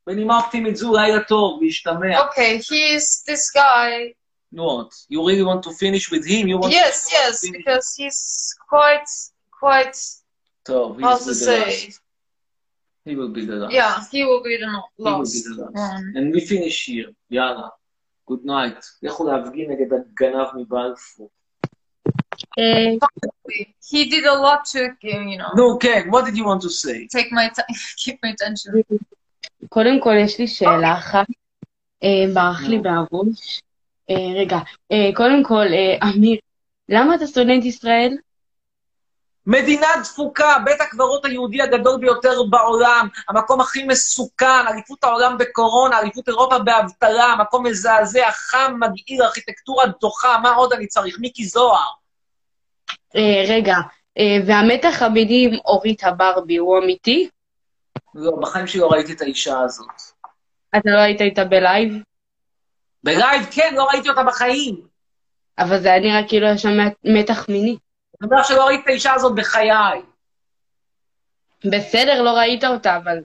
Speaker 8: בנימה אופטימית זו, לילה טוב, להשתמע.
Speaker 2: Okay, he's this guy.
Speaker 8: נו עוד. You really want to finish with him? You want
Speaker 2: Yes,
Speaker 8: to...
Speaker 2: yes, because he's quite, quite.
Speaker 8: טוב, he
Speaker 2: How
Speaker 8: will
Speaker 2: to
Speaker 8: be the
Speaker 2: say?
Speaker 8: last. He will be the last.
Speaker 2: Yeah, he will be the no- Um,
Speaker 8: He will
Speaker 2: last
Speaker 8: be the last.
Speaker 2: one.
Speaker 8: And we finish here, יאללה. Good night. לכו להפגין נגד הגנב מבלפור.
Speaker 2: He did a lot to, you know,
Speaker 8: נו, כן, what did you want to say?
Speaker 2: take my time, keep my attention.
Speaker 13: קודם כל, יש לי
Speaker 6: אוקיי.
Speaker 13: שאלה אחת. אה, ברח לי בעבוש. אה, רגע, אה, קודם כל, אה, אמיר, למה אתה סטודנט ישראל?
Speaker 8: מדינה דפוקה, בית הקברות היהודי הגדול ביותר בעולם, המקום הכי מסוכן, אליפות העולם בקורונה, אליפות אירופה באבטלה, מקום מזעזע, חם, מגעיל, ארכיטקטורה דוחה, מה עוד אני צריך? מיקי זוהר.
Speaker 13: אה, רגע, אה, והמתח המיני עם אורית הברבי הוא אמיתי?
Speaker 8: לא, בחיים שלי לא ראיתי את האישה הזאת.
Speaker 13: אתה לא היית איתה בלייב?
Speaker 8: בלייב, כן, לא ראיתי אותה בחיים.
Speaker 13: אבל זה היה נראה כאילו היה שם מתח מיני.
Speaker 8: אני אומר שלא ראיתי את האישה הזאת בחיי.
Speaker 13: בסדר, לא ראית אותה, אבל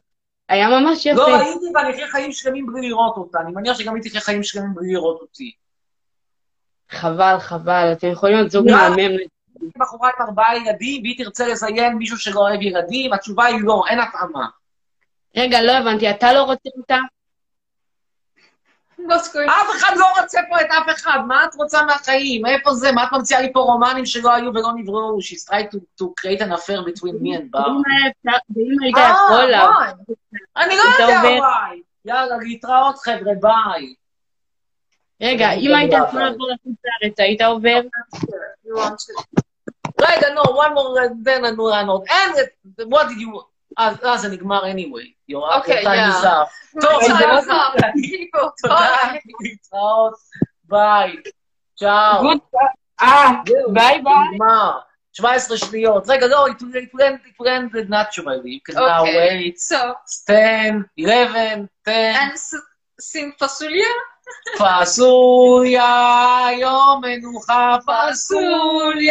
Speaker 13: היה ממש יפה.
Speaker 8: לא ראיתי ואני אחיה חיים שלמים בלי לראות אותה. אני מניח שגם היא תחיה חיים שלמים בלי לראות אותי.
Speaker 13: חבל, חבל, אתם יכולים להיות זוג
Speaker 8: לא.
Speaker 13: מהמם.
Speaker 8: בחורה עם ארבעה ילדים, והיא תרצה לזיין מישהו שלא אוהב ילדים, התשובה היא לא, אין התאמה.
Speaker 13: רגע, לא הבנתי, אתה לא רוצה אותה?
Speaker 8: אף אחד לא רוצה פה את אף אחד, מה את רוצה מהחיים? איפה זה? מה את ממציאה לי פה רומנים שלא היו ולא נבראו? She's trying to, to create an affair between me and bar. tá?
Speaker 13: ואם היית
Speaker 8: אה,
Speaker 2: Ah,
Speaker 13: יכול לה...
Speaker 8: וואי. אני לא
Speaker 13: אתה
Speaker 8: יודע,
Speaker 13: עובד.
Speaker 8: וואי. יאללה, להתראות חבר'ה, ביי.
Speaker 6: רגע, אם היית יכול לעבור לחוץ לארץ, היית עובר?
Speaker 5: You want to... רגע, no, one more, uh, then I will not. And uh, what did you... אז אז זה נגמר anyway. יואב,
Speaker 14: אוקיי,
Speaker 5: time
Speaker 14: yeah.
Speaker 5: is up. טוב,
Speaker 14: Time
Speaker 8: לא
Speaker 5: תודה.
Speaker 14: is up.
Speaker 5: תודה. להתראות. ביי. צ'או. אה, ביי ביי. נגמר. 17 שניות. רגע, לא, it went- it went naturally. You can now
Speaker 2: Okay,
Speaker 5: wait.
Speaker 2: so-
Speaker 5: 10, 11, 10.
Speaker 2: Sin fasulya?
Speaker 8: um
Speaker 5: פסוליה, יום מנוחה, פסוליה.